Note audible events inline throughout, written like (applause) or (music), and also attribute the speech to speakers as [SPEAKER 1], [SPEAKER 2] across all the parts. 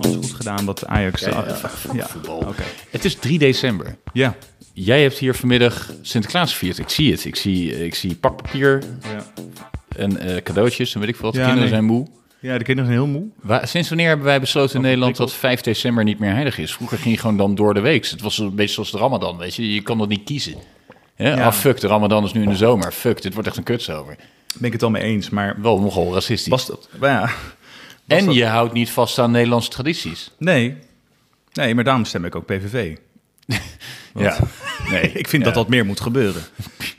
[SPEAKER 1] Alles goed gedaan wat Ajax... Ja, ja.
[SPEAKER 2] Voetbal.
[SPEAKER 1] oké.
[SPEAKER 2] Het is 3 december.
[SPEAKER 1] Ja.
[SPEAKER 2] Jij hebt hier vanmiddag Sinterklaas gevierd. Ik zie het. Ik zie, ik zie pakpapier
[SPEAKER 1] Ja.
[SPEAKER 2] en eh, cadeautjes en weet ik veel wat. De
[SPEAKER 1] Ja,
[SPEAKER 2] Kinderen
[SPEAKER 1] nee.
[SPEAKER 2] zijn moe.
[SPEAKER 1] ja, de kinderen zijn heel moe.
[SPEAKER 2] Wa- sinds wanneer hebben wij besloten in Nederland dat 5 december niet meer heilig is? Vroeger ging je gewoon dan door de week. Het was een beetje zoals de Ramadan, weet je. Je kan dat niet kiezen. Hè?
[SPEAKER 1] Ja.
[SPEAKER 2] Ah, fuck, de Ramadan is nu in de zomer. Fuck, dit wordt echt een kutzomer.
[SPEAKER 1] Ben ik het al mee eens, maar
[SPEAKER 2] Wel nogal racistisch.
[SPEAKER 1] was dat... Maar ja,
[SPEAKER 2] en je houdt niet vast aan Nederlandse tradities.
[SPEAKER 1] nee. Nee, maar daarom stem ik ook PVV.
[SPEAKER 2] Ja.
[SPEAKER 1] (laughs)
[SPEAKER 2] Nee.
[SPEAKER 1] Ik vind dat dat meer moet
[SPEAKER 2] (laughs)
[SPEAKER 1] gebeuren.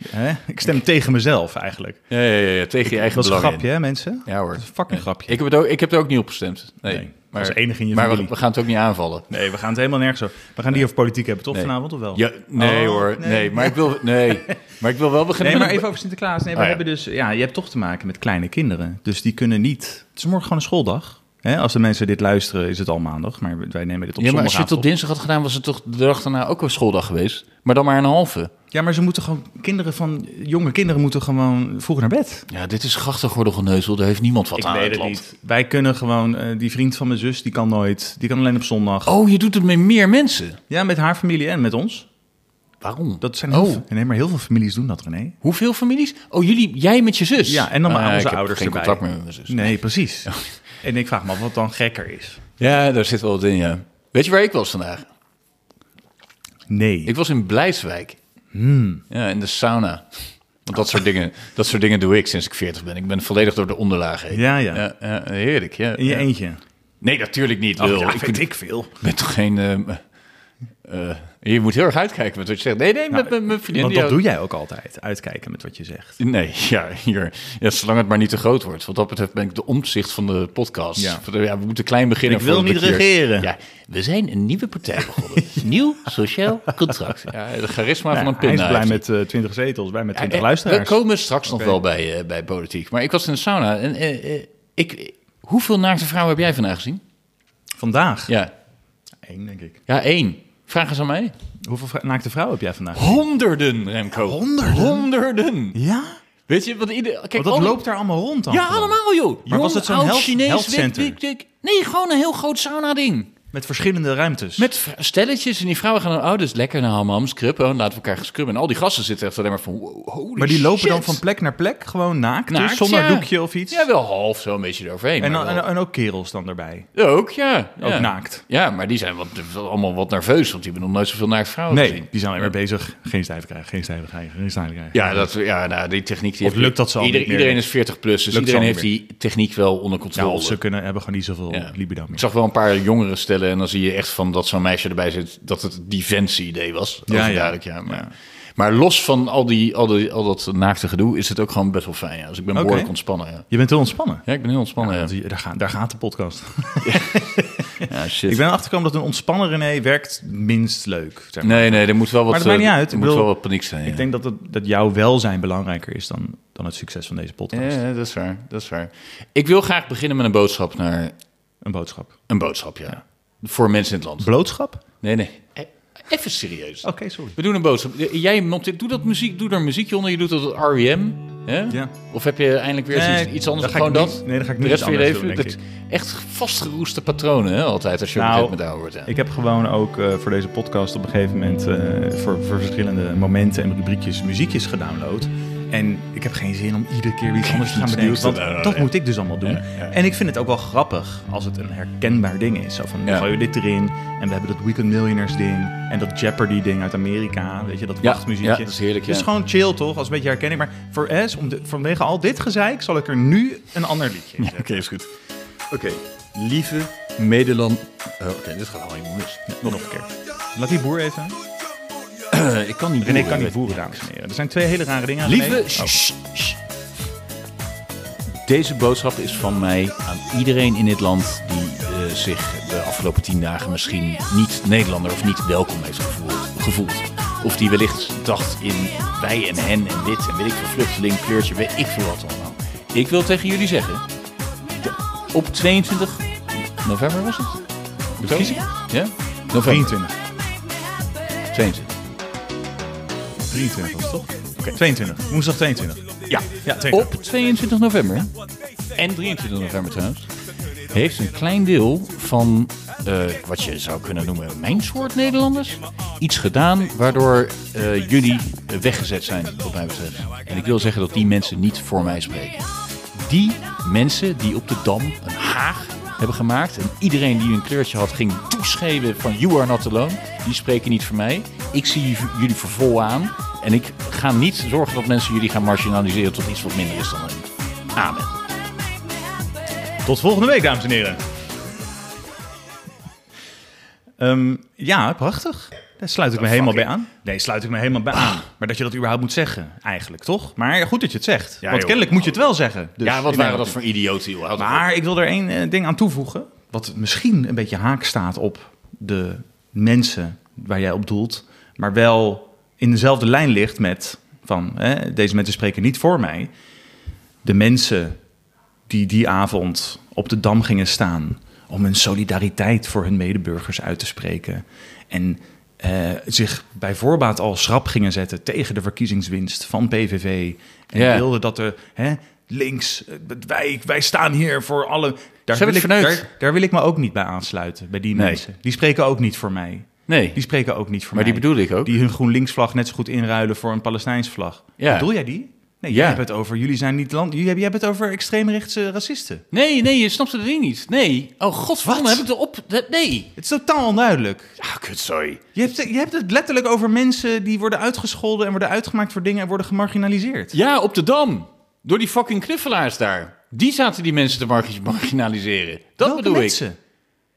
[SPEAKER 1] Hè? Ik stem tegen mezelf eigenlijk.
[SPEAKER 2] Ja, ja, ja, ja, tegen je eigen
[SPEAKER 1] Dat is een
[SPEAKER 2] belang
[SPEAKER 1] grapje,
[SPEAKER 2] in.
[SPEAKER 1] hè mensen?
[SPEAKER 2] Ja hoor.
[SPEAKER 1] Dat is een fucking grapje.
[SPEAKER 2] Ik heb, het ook, ik heb er ook niet op gestemd. Nee.
[SPEAKER 1] Nee, als enige in je
[SPEAKER 2] Maar we,
[SPEAKER 1] familie.
[SPEAKER 2] we gaan het ook niet aanvallen.
[SPEAKER 1] Nee, we gaan het helemaal nergens over. We gaan die over politiek hebben, toch?
[SPEAKER 2] Nee.
[SPEAKER 1] Vanavond of wel?
[SPEAKER 2] Ja, nee
[SPEAKER 1] Oh,
[SPEAKER 2] hoor. Nee. maar ik wil, nee. Maar ik wil wel beginnen
[SPEAKER 1] Nee, maar
[SPEAKER 2] met-
[SPEAKER 1] even over Sinterklaas. Nee, we
[SPEAKER 2] Ah, ja.
[SPEAKER 1] hebben dus, ja, je hebt toch te maken met kleine kinderen. Dus die kunnen niet. Het is morgen gewoon een schooldag. Hè, als de mensen dit luisteren, is het al maandag. Maar wij nemen dit op
[SPEAKER 2] Ja, maar als je het
[SPEAKER 1] zondagavond
[SPEAKER 2] op dinsdag had gedaan, was het toch de dag daarna ook een schooldag geweest. Maar dan maar een halve.
[SPEAKER 1] op. Ja, maar ze moeten gewoon. Kinderen van. Jonge kinderen moeten gewoon vroeg naar bed.
[SPEAKER 2] Ja, dit is grachtengordelgeneuzel. Daar heeft niemand wat aan. het land.
[SPEAKER 1] Wij kunnen gewoon. eh, die vriend van mijn zus, die kan nooit. Die kan alleen op zondag.
[SPEAKER 2] Oh, je doet het met meer mensen.
[SPEAKER 1] Ja, met haar familie en met ons.
[SPEAKER 2] Waarom?
[SPEAKER 1] Dat zijn heel
[SPEAKER 2] Oh.
[SPEAKER 1] veel- Nee, maar heel veel families doen dat, René.
[SPEAKER 2] Hoeveel families? Oh, jullie, jij met je zus.
[SPEAKER 1] Ja, en dan maar
[SPEAKER 2] Ah,
[SPEAKER 1] onze
[SPEAKER 2] ik heb
[SPEAKER 1] ouders
[SPEAKER 2] geen
[SPEAKER 1] erbij.
[SPEAKER 2] contact meer met mijn zus.
[SPEAKER 1] Nee, precies. En ik vraag me af wat dan gekker is.
[SPEAKER 2] Ja, daar zit wel wat in, ja. Weet je waar ik was vandaag?
[SPEAKER 1] Nee.
[SPEAKER 2] Ik was in Blijswijk.
[SPEAKER 1] Hmm.
[SPEAKER 2] Ja, in de sauna. Want dat soort, dingen, dat soort dingen doe ik sinds ik 40 ben. Ik ben volledig door de onderlagen heen.
[SPEAKER 1] Ja, ja.
[SPEAKER 2] ja, ja, heerlijk, ja.
[SPEAKER 1] In je
[SPEAKER 2] ja.
[SPEAKER 1] eentje.
[SPEAKER 2] Nee, natuurlijk niet,
[SPEAKER 1] Ach,
[SPEAKER 2] lul.
[SPEAKER 1] ja,
[SPEAKER 2] ik
[SPEAKER 1] vind ik veel.
[SPEAKER 2] ben toch geen... eh, eh, je moet heel erg uitkijken met wat je zegt. Nee, nee, met mijn- mijn vriendin.
[SPEAKER 1] Nou, Want
[SPEAKER 2] die
[SPEAKER 1] dat
[SPEAKER 2] houdt-
[SPEAKER 1] doe jij ook altijd, uitkijken met wat je zegt.
[SPEAKER 2] Nee, (laughs) ja, hier. Ja, zolang het maar niet te groot wordt. Wat dat betreft ben ik de omzicht van de podcast.
[SPEAKER 1] Ja.
[SPEAKER 2] Ja. we moeten klein beginnen.
[SPEAKER 1] Ik wil
[SPEAKER 2] voordat
[SPEAKER 1] niet
[SPEAKER 2] hier-
[SPEAKER 1] regeren.
[SPEAKER 2] Ja, we zijn een nieuwe partij
[SPEAKER 1] (laughs)
[SPEAKER 2] begonnen. Nieuw sociaal contract. Ja, de charisma van een
[SPEAKER 1] Nou, hij is
[SPEAKER 2] pinda.
[SPEAKER 1] blij
[SPEAKER 2] heeft
[SPEAKER 1] met eh 20 zetels, wij met
[SPEAKER 2] hij.
[SPEAKER 1] 20
[SPEAKER 2] Eh,
[SPEAKER 1] luisteraars.
[SPEAKER 2] We komen straks
[SPEAKER 1] Oké.
[SPEAKER 2] nog wel bij, eh, bij politiek. Maar ik was in de sauna. En, eh, eh, ik, hoeveel naakte vrouwen heb jij vandaag gezien?
[SPEAKER 1] Vandaag.
[SPEAKER 2] Ja,
[SPEAKER 1] Eén, denk ik.
[SPEAKER 2] ja één. Vraag eens aan mij.
[SPEAKER 1] Hoeveel vrou- naakte vrouwen heb jij vandaag?
[SPEAKER 2] Honderden, Remco. Honderden? Honderden.
[SPEAKER 1] Ja?
[SPEAKER 2] Weet je, want ieder... Kijk,
[SPEAKER 1] Want dat
[SPEAKER 2] alle-
[SPEAKER 1] loopt daar allemaal rond dan.
[SPEAKER 2] Ja,
[SPEAKER 1] gewoon.
[SPEAKER 2] allemaal joh.
[SPEAKER 1] Maar was het zo'n
[SPEAKER 2] oud,
[SPEAKER 1] health-
[SPEAKER 2] Chinees,
[SPEAKER 1] health
[SPEAKER 2] wik,
[SPEAKER 1] center?
[SPEAKER 2] wik, wik. Nee, gewoon een heel groot sauna-ding.
[SPEAKER 1] Met verschillende ruimtes.
[SPEAKER 2] Met v- stelletjes en die vrouwen gaan dan, oh, dus lekker naar hammams, krubben, Oh, laten we elkaar gaan scrubben. En al die gasten zitten echt alleen maar van, wow, holy
[SPEAKER 1] maar die lopen dan
[SPEAKER 2] shit.
[SPEAKER 1] van plek naar plek, gewoon naakt, dus
[SPEAKER 2] Naakt,
[SPEAKER 1] zonder
[SPEAKER 2] ja.
[SPEAKER 1] doekje of iets.
[SPEAKER 2] Ja, wel half zo een beetje eroverheen.
[SPEAKER 1] en,
[SPEAKER 2] maar
[SPEAKER 1] dan, en,
[SPEAKER 2] wel-
[SPEAKER 1] en ook kerels dan erbij.
[SPEAKER 2] ook, ja.
[SPEAKER 1] Ook
[SPEAKER 2] ja.
[SPEAKER 1] naakt.
[SPEAKER 2] Ja, maar die zijn wat, allemaal wat nerveus, want die hebben nog nooit zoveel naakt vrouwen
[SPEAKER 1] Nee,
[SPEAKER 2] gezien.
[SPEAKER 1] die zijn alleen maar bezig. Geen stijf krijgen, geen stijf krijgen, geen stijf krijgen.
[SPEAKER 2] Ja, dat, ja nou, die techniek... Die
[SPEAKER 1] Of
[SPEAKER 2] heeft-
[SPEAKER 1] lukt dat ze al
[SPEAKER 2] ieder-
[SPEAKER 1] niet meer?
[SPEAKER 2] Iedereen is 40 plus, dus
[SPEAKER 1] Lukt ze
[SPEAKER 2] iedereen
[SPEAKER 1] al
[SPEAKER 2] heeft
[SPEAKER 1] niet
[SPEAKER 2] die techniek wel onder
[SPEAKER 1] Ja,
[SPEAKER 2] controle.
[SPEAKER 1] of ze kunnen, hebben gewoon niet zoveel
[SPEAKER 2] Ja.
[SPEAKER 1] libido meer.
[SPEAKER 2] Ik zag wel een paar jongeren stellen en dan zie je echt van dat zo'n meisje erbij zit dat het defensie-idee was.
[SPEAKER 1] Ja, ja.
[SPEAKER 2] Ja, ja. maar, maar los van al, die, al, die, al dat naakte gedoe is het ook gewoon best wel fijn. Ja. Dus ik ben
[SPEAKER 1] Oké.
[SPEAKER 2] behoorlijk ontspannen. Ja.
[SPEAKER 1] Je bent heel ontspannen.
[SPEAKER 2] ja, ik ben heel ontspannen. Ja,
[SPEAKER 1] Want hier- Daar, gaat, daar gaat de podcast.
[SPEAKER 2] Ja, shit.
[SPEAKER 1] Ik ben achterkomen dat een ontspannen René werkt minst leuk. Zeg maar.
[SPEAKER 2] Nee, nee, er moet wel wat,
[SPEAKER 1] Maar dat maakt
[SPEAKER 2] eh,
[SPEAKER 1] niet uit.
[SPEAKER 2] Er
[SPEAKER 1] Ik
[SPEAKER 2] moet
[SPEAKER 1] bedoel,
[SPEAKER 2] wel wat paniek zijn.
[SPEAKER 1] Ik
[SPEAKER 2] ja.
[SPEAKER 1] denk dat, het, dat jouw welzijn belangrijker is dan, dan het succes van deze podcast.
[SPEAKER 2] Ja, ja, dat is waar. Dat is waar. Ik wil graag beginnen met een boodschap naar
[SPEAKER 1] Een boodschap.
[SPEAKER 2] een boodschap, ja. Voor mensen in het land.
[SPEAKER 1] Boodschap? Oké,
[SPEAKER 2] Nee, nee. E- Even serieus.
[SPEAKER 1] sorry.
[SPEAKER 2] We doen een boodschap. Jij monteert- doe dat muziek, doe daar muziekje onder. Je doet dat op R.E.M. Hè?
[SPEAKER 1] Ja.
[SPEAKER 2] Of heb je eindelijk weer
[SPEAKER 1] Nee,
[SPEAKER 2] iets, iets anders?
[SPEAKER 1] dan ga ik
[SPEAKER 2] Gewoon dat?
[SPEAKER 1] niet- nee, dan ga ik
[SPEAKER 2] De
[SPEAKER 1] niet
[SPEAKER 2] rest van je
[SPEAKER 1] iets
[SPEAKER 2] leven?
[SPEAKER 1] anders doen,
[SPEAKER 2] dat echt vastgeroeste patronen, hè? Altijd als je
[SPEAKER 1] Nou,
[SPEAKER 2] op een gegeven moment ouder wordt. Ja.
[SPEAKER 1] Ik heb gewoon ook eh, voor deze podcast op een gegeven moment eh, voor, voor verschillende momenten en rubriekjes muziekjes gedownload. En ik heb geen zin om iedere keer weer iets anders te gaan
[SPEAKER 2] Iets
[SPEAKER 1] bedenken.
[SPEAKER 2] nieuws te
[SPEAKER 1] Want
[SPEAKER 2] doen,
[SPEAKER 1] dat
[SPEAKER 2] ja.
[SPEAKER 1] moet ik dus allemaal doen.
[SPEAKER 2] Ja, ja.
[SPEAKER 1] En ik vind het ook wel grappig als het een herkenbaar ding is. Zo van, nu
[SPEAKER 2] Ja.
[SPEAKER 1] gooi je dit erin. En we hebben dat Weekend Millionaires ding. En dat Jeopardy ding uit Amerika. Weet je, dat
[SPEAKER 2] Ja,
[SPEAKER 1] wachtmuziekje.
[SPEAKER 2] ja, dat is heerlijk,
[SPEAKER 1] Het is
[SPEAKER 2] ja.
[SPEAKER 1] gewoon chill toch, als een beetje herkenning. Maar voor S, om de, vanwege al dit gezeik, zal ik er nu een ander liedje in zetten.
[SPEAKER 2] is goed. Oké, lieve Nederland. Oh, Oké, dit gaat allemaal helemaal mis.
[SPEAKER 1] Nog een keer. Laat die boer even.
[SPEAKER 2] (clears throat) ik kan
[SPEAKER 1] René
[SPEAKER 2] niet boeren,
[SPEAKER 1] kan niet
[SPEAKER 2] weet-
[SPEAKER 1] voeren, dames en heren. Er zijn twee hele rare dingen aan
[SPEAKER 2] Lieve...
[SPEAKER 1] René.
[SPEAKER 2] Sst, sst, sst. Deze boodschap is van mij aan iedereen in dit land die eh, zich de afgelopen tien dagen misschien niet Nederlander of niet welkom heeft gevoeld. gevoeld. Of die wellicht dacht in wij en hen en dit en weet ik veel vluchteling, kleurtje, weet ik veel wat allemaal. Ik wil tegen jullie zeggen, de- op 22 november was het? De
[SPEAKER 1] verkiezing?
[SPEAKER 2] Ja? November.
[SPEAKER 1] 23.
[SPEAKER 2] 22.
[SPEAKER 1] 23 was het toch? Oké. 22. Woensdag 22.
[SPEAKER 2] Ja,
[SPEAKER 1] Ja, zeker.
[SPEAKER 2] op 22 november en 23 november trouwens, heeft een klein deel van eh, wat je zou kunnen noemen mijn soort Nederlanders iets gedaan waardoor eh, jullie eh, weggezet zijn, wat mij betreft. En ik wil zeggen dat die mensen niet voor mij spreken. Die mensen die op de Dam een haag hebben gemaakt en iedereen die een kleurtje had ging toeschreven van you are not alone, die spreken niet voor mij. Ik zie jullie voor vol aan en ik ga niet zorgen dat mensen jullie gaan marginaliseren tot iets wat minder is dan hen. Amen.
[SPEAKER 1] Tot volgende week, dames en heren. Ehm, ja, prachtig. Daar sluit ik me helemaal bij aan. Nee, sluit ik me helemaal bij aan. Maar dat je dat überhaupt moet zeggen, eigenlijk, toch? Maar goed dat je het zegt.
[SPEAKER 2] Ja,
[SPEAKER 1] want
[SPEAKER 2] joh.
[SPEAKER 1] kennelijk moet je het wel zeggen. Dus
[SPEAKER 2] ja, wat
[SPEAKER 1] in
[SPEAKER 2] waren
[SPEAKER 1] Nederland.
[SPEAKER 2] dat voor idioten, joh. Houd op.
[SPEAKER 1] Maar ik wil er één eh, ding aan toevoegen. Wat misschien een beetje haak staat op de mensen waar jij op doelt. Maar wel in dezelfde lijn ligt met van hè, deze mensen spreken niet voor mij. De mensen die die avond op de dam gingen staan. om hun solidariteit voor hun medeburgers uit te spreken. en eh, zich bij voorbaat al schrap gingen zetten tegen de verkiezingswinst van PVV. en
[SPEAKER 2] Ja.
[SPEAKER 1] wilden dat er hè, links, eh, wij, wij staan hier voor alle. Daar
[SPEAKER 2] Ze
[SPEAKER 1] wil, ik,
[SPEAKER 2] hebben het verneukt.
[SPEAKER 1] daar, daar wil ik me ook niet bij aansluiten, bij die
[SPEAKER 2] Nee.
[SPEAKER 1] mensen. Die spreken ook niet voor mij.
[SPEAKER 2] Nee,
[SPEAKER 1] Die spreken ook niet voor
[SPEAKER 2] maar
[SPEAKER 1] mij.
[SPEAKER 2] die bedoelde ik ook.
[SPEAKER 1] Die hun GroenLinks-vlag net zo goed inruilen voor een Palestijns vlag.
[SPEAKER 2] Ja.
[SPEAKER 1] Bedoel jij die? Nee,
[SPEAKER 2] Ja.
[SPEAKER 1] jij hebt het over, jullie zijn niet land... Jullie hebben, jij hebt het over extreemrechtse racisten.
[SPEAKER 2] Nee, nee, je snapt het ding niet. Nee. Oh, god, waarom
[SPEAKER 1] Wat?
[SPEAKER 2] heb ik erop... de- Nee.
[SPEAKER 1] Het is totaal onduidelijk.
[SPEAKER 2] Ah, kut, sorry.
[SPEAKER 1] Je hebt, je hebt het letterlijk over mensen die worden uitgescholden... en worden uitgemaakt voor dingen en worden gemarginaliseerd.
[SPEAKER 2] Ja, op de Dam. Door die fucking knuffelaars daar. Die zaten die mensen te margin- marginaliseren. Dat
[SPEAKER 1] Welke
[SPEAKER 2] bedoel ik.
[SPEAKER 1] mensen?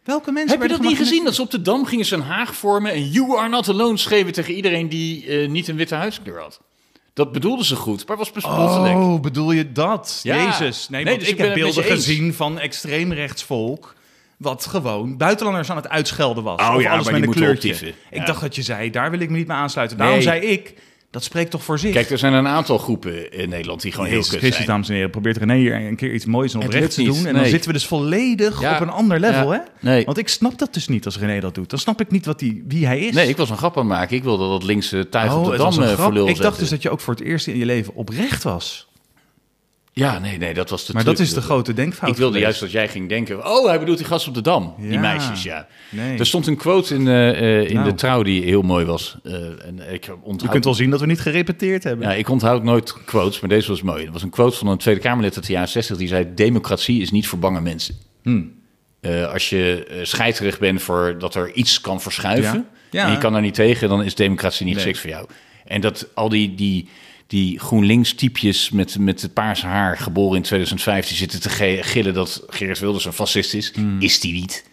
[SPEAKER 1] Welke mensen?
[SPEAKER 2] Heb je
[SPEAKER 1] werden
[SPEAKER 2] dat niet
[SPEAKER 1] gemarginaliseerd?
[SPEAKER 2] gezien? Dat ze op de Dam gingen ze een haag vormen... en you are not alone schreven tegen iedereen die eh, niet een witte huidskleur had. Dat bedoelden ze goed, maar was bespottelijk.
[SPEAKER 1] Oh, bedoel je dat?
[SPEAKER 2] Ja.
[SPEAKER 1] Jezus. Nee,
[SPEAKER 2] Nee,
[SPEAKER 1] want
[SPEAKER 2] dus
[SPEAKER 1] ik heb
[SPEAKER 2] ik ben het met
[SPEAKER 1] beelden
[SPEAKER 2] je eens.
[SPEAKER 1] gezien van extreemrechtsvolk... wat gewoon buitenlanders aan het uitschelden was.
[SPEAKER 2] Oh
[SPEAKER 1] of
[SPEAKER 2] ja,
[SPEAKER 1] alles met
[SPEAKER 2] maar die
[SPEAKER 1] een
[SPEAKER 2] moeten
[SPEAKER 1] kleurtje.
[SPEAKER 2] optieven.
[SPEAKER 1] Ik
[SPEAKER 2] Ja.
[SPEAKER 1] dacht dat je zei, daar wil ik me niet mee aansluiten. Daarom
[SPEAKER 2] Nee.
[SPEAKER 1] zei ik, dat spreekt toch voor zich?
[SPEAKER 2] Kijk, er zijn een aantal groepen in Nederland die gewoon
[SPEAKER 1] Jezus
[SPEAKER 2] heel kut
[SPEAKER 1] Christus, nou,
[SPEAKER 2] zijn.
[SPEAKER 1] dames en heren. Probeert René hier een keer iets moois en
[SPEAKER 2] Het
[SPEAKER 1] oprechts te
[SPEAKER 2] lukt
[SPEAKER 1] doen.
[SPEAKER 2] niet,
[SPEAKER 1] En dan
[SPEAKER 2] nee.
[SPEAKER 1] zitten we dus volledig
[SPEAKER 2] Ja.
[SPEAKER 1] op een ander level,
[SPEAKER 2] Ja.
[SPEAKER 1] hè?
[SPEAKER 2] Nee.
[SPEAKER 1] Want ik snap dat dus niet als René dat doet. Dan snap ik niet wat die, wie hij is.
[SPEAKER 2] Nee, ik was een grap aan het maken. Ik wilde dat linkse tuig op
[SPEAKER 1] Oh,
[SPEAKER 2] de
[SPEAKER 1] het was
[SPEAKER 2] Dam
[SPEAKER 1] een
[SPEAKER 2] eh, voor
[SPEAKER 1] grap.
[SPEAKER 2] lul
[SPEAKER 1] Ik dacht
[SPEAKER 2] zetten.
[SPEAKER 1] dus dat je ook voor het eerst in je leven oprecht was.
[SPEAKER 2] Ja, nee, nee, dat was de
[SPEAKER 1] Maar
[SPEAKER 2] truc.
[SPEAKER 1] dat is de grote denkfout.
[SPEAKER 2] Ik wilde
[SPEAKER 1] geweest.
[SPEAKER 2] juist dat jij ging denken, oh, hij bedoelt die gast op de Dam. Die
[SPEAKER 1] Ja.
[SPEAKER 2] meisjes, ja.
[SPEAKER 1] Nee.
[SPEAKER 2] Er stond een quote in, eh, eh, in
[SPEAKER 1] Nou.
[SPEAKER 2] de trouw die heel mooi was. Eh, en ik onthoud...
[SPEAKER 1] Je kunt wel zien dat we niet gerepeteerd hebben.
[SPEAKER 2] Ja, ik onthoud nooit quotes, maar deze was mooi. Er was een quote van een Tweede Kamerlid uit de jaren 60 die zei... democratie is niet voor bange mensen.
[SPEAKER 1] Hmm.
[SPEAKER 2] Eh, als je eh, scheiterig bent voor dat er iets kan verschuiven...
[SPEAKER 1] Ja. Ja.
[SPEAKER 2] en je kan daar niet tegen, dan is democratie niet
[SPEAKER 1] Nee.
[SPEAKER 2] geschikt voor jou. En dat al die... die die GroenLinks-typjes met, met het paarse haar, geboren in 2005, die zitten te ge- gillen dat Geert Wilders een fascist is.
[SPEAKER 1] Hmm.
[SPEAKER 2] Is die niet.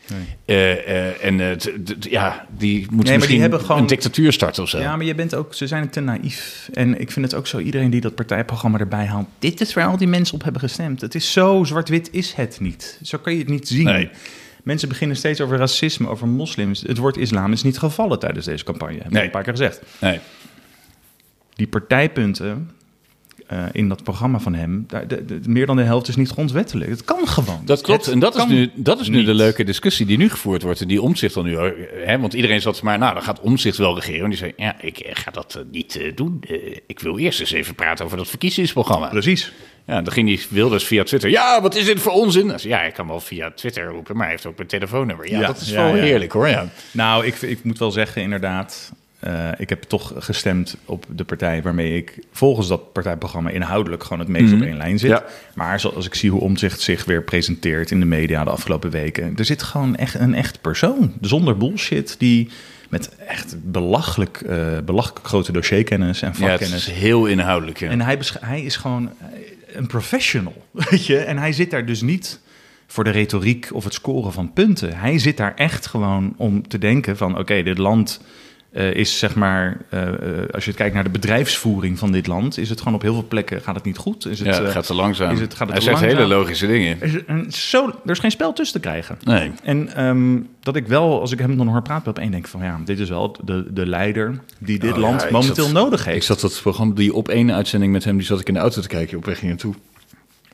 [SPEAKER 2] Eh, eh, en eh, t- t- ja, die moeten
[SPEAKER 1] die
[SPEAKER 2] misschien
[SPEAKER 1] hebben gewoon-
[SPEAKER 2] een dictatuur starten of zo.
[SPEAKER 1] Ja, maar je bent ook, ze zijn het te naïef. En ik vind het ook zo, iedereen die dat partijprogramma erbij haalt... dit is waar al die mensen op hebben gestemd. Het is zo zwart-wit is het niet. Zo kan je het niet zien.
[SPEAKER 2] Nee.
[SPEAKER 1] Mensen beginnen steeds over racisme, over moslims. Het woord islam is niet gevallen tijdens deze campagne. Heb ik
[SPEAKER 2] Nee.
[SPEAKER 1] een paar keer gezegd.
[SPEAKER 2] Nee.
[SPEAKER 1] Die partijpunten eh, in dat programma van hem... Daar, de, de- meer dan de helft is niet grondwettelijk. Het kan gewoon.
[SPEAKER 2] Dat klopt.
[SPEAKER 1] Het
[SPEAKER 2] En dat is,
[SPEAKER 1] kan
[SPEAKER 2] nu, dat is nu
[SPEAKER 1] niet.
[SPEAKER 2] de leuke discussie die nu gevoerd wordt. En die omzicht dan nu. eh, Hè? Want iedereen zat maar, nou, dan gaat omzicht wel regeren. En die zei, ja, ik eh, ga dat eh, niet eh, doen. Eh, ik wil eerst eens even praten over dat verkiezingsprogramma.
[SPEAKER 1] Precies.
[SPEAKER 2] Ja, en dan ging die Wilders via Twitter. Ja, wat is dit voor onzin? Hij zei, ja, ik kan wel via Twitter roepen, maar hij heeft ook mijn telefoonnummer. Ja,
[SPEAKER 1] Ja,
[SPEAKER 2] dat is
[SPEAKER 1] ja,
[SPEAKER 2] wel
[SPEAKER 1] ja.
[SPEAKER 2] heerlijk hoor. Ja.
[SPEAKER 1] Nou, ik, ik moet wel zeggen, inderdaad. eh, ik heb toch gestemd op de partij waarmee ik volgens dat partijprogramma inhoudelijk gewoon het meest op één lijn zit.
[SPEAKER 2] Mhm. Ja.
[SPEAKER 1] Maar zoals ik zie hoe Omzicht zich weer presenteert in de media de afgelopen weken. Er zit gewoon echt een echt persoon zonder bullshit die met echt belachelijk, eh, belachelijk grote dossierkennis en
[SPEAKER 2] ja, het is
[SPEAKER 1] vakkennis.
[SPEAKER 2] heel inhoudelijk. ja.
[SPEAKER 1] en hij, besch- hij is gewoon eh, een professional, (laughs) weet je. En hij zit daar dus niet voor de retoriek of het scoren van punten. Hij zit daar echt gewoon om te denken van... oké, dit land eh, is zeg maar... eh, eh, als je het kijkt naar de bedrijfsvoering van dit land... is het gewoon op heel veel plekken gaat het niet goed. Is het,
[SPEAKER 2] ja, het
[SPEAKER 1] eh,
[SPEAKER 2] gaat te langzaam.
[SPEAKER 1] is het- gaat het
[SPEAKER 2] hij
[SPEAKER 1] te
[SPEAKER 2] zegt
[SPEAKER 1] langzaam?
[SPEAKER 2] hele logische dingen.
[SPEAKER 1] is het een- zo, er is geen spel tussen te krijgen.
[SPEAKER 2] Nee.
[SPEAKER 1] En ehm, dat ik wel, als ik hem dan hoor praten, op één denk van... ja, dit is wel de, de leider die dit
[SPEAKER 2] Oh,
[SPEAKER 1] land
[SPEAKER 2] ja, ik
[SPEAKER 1] momenteel
[SPEAKER 2] zat-
[SPEAKER 1] nodig
[SPEAKER 2] Ik
[SPEAKER 1] heeft.
[SPEAKER 2] zat dat programma, die op één uitzending met hem, die zat ik in de auto te kijken op weg hier naartoe.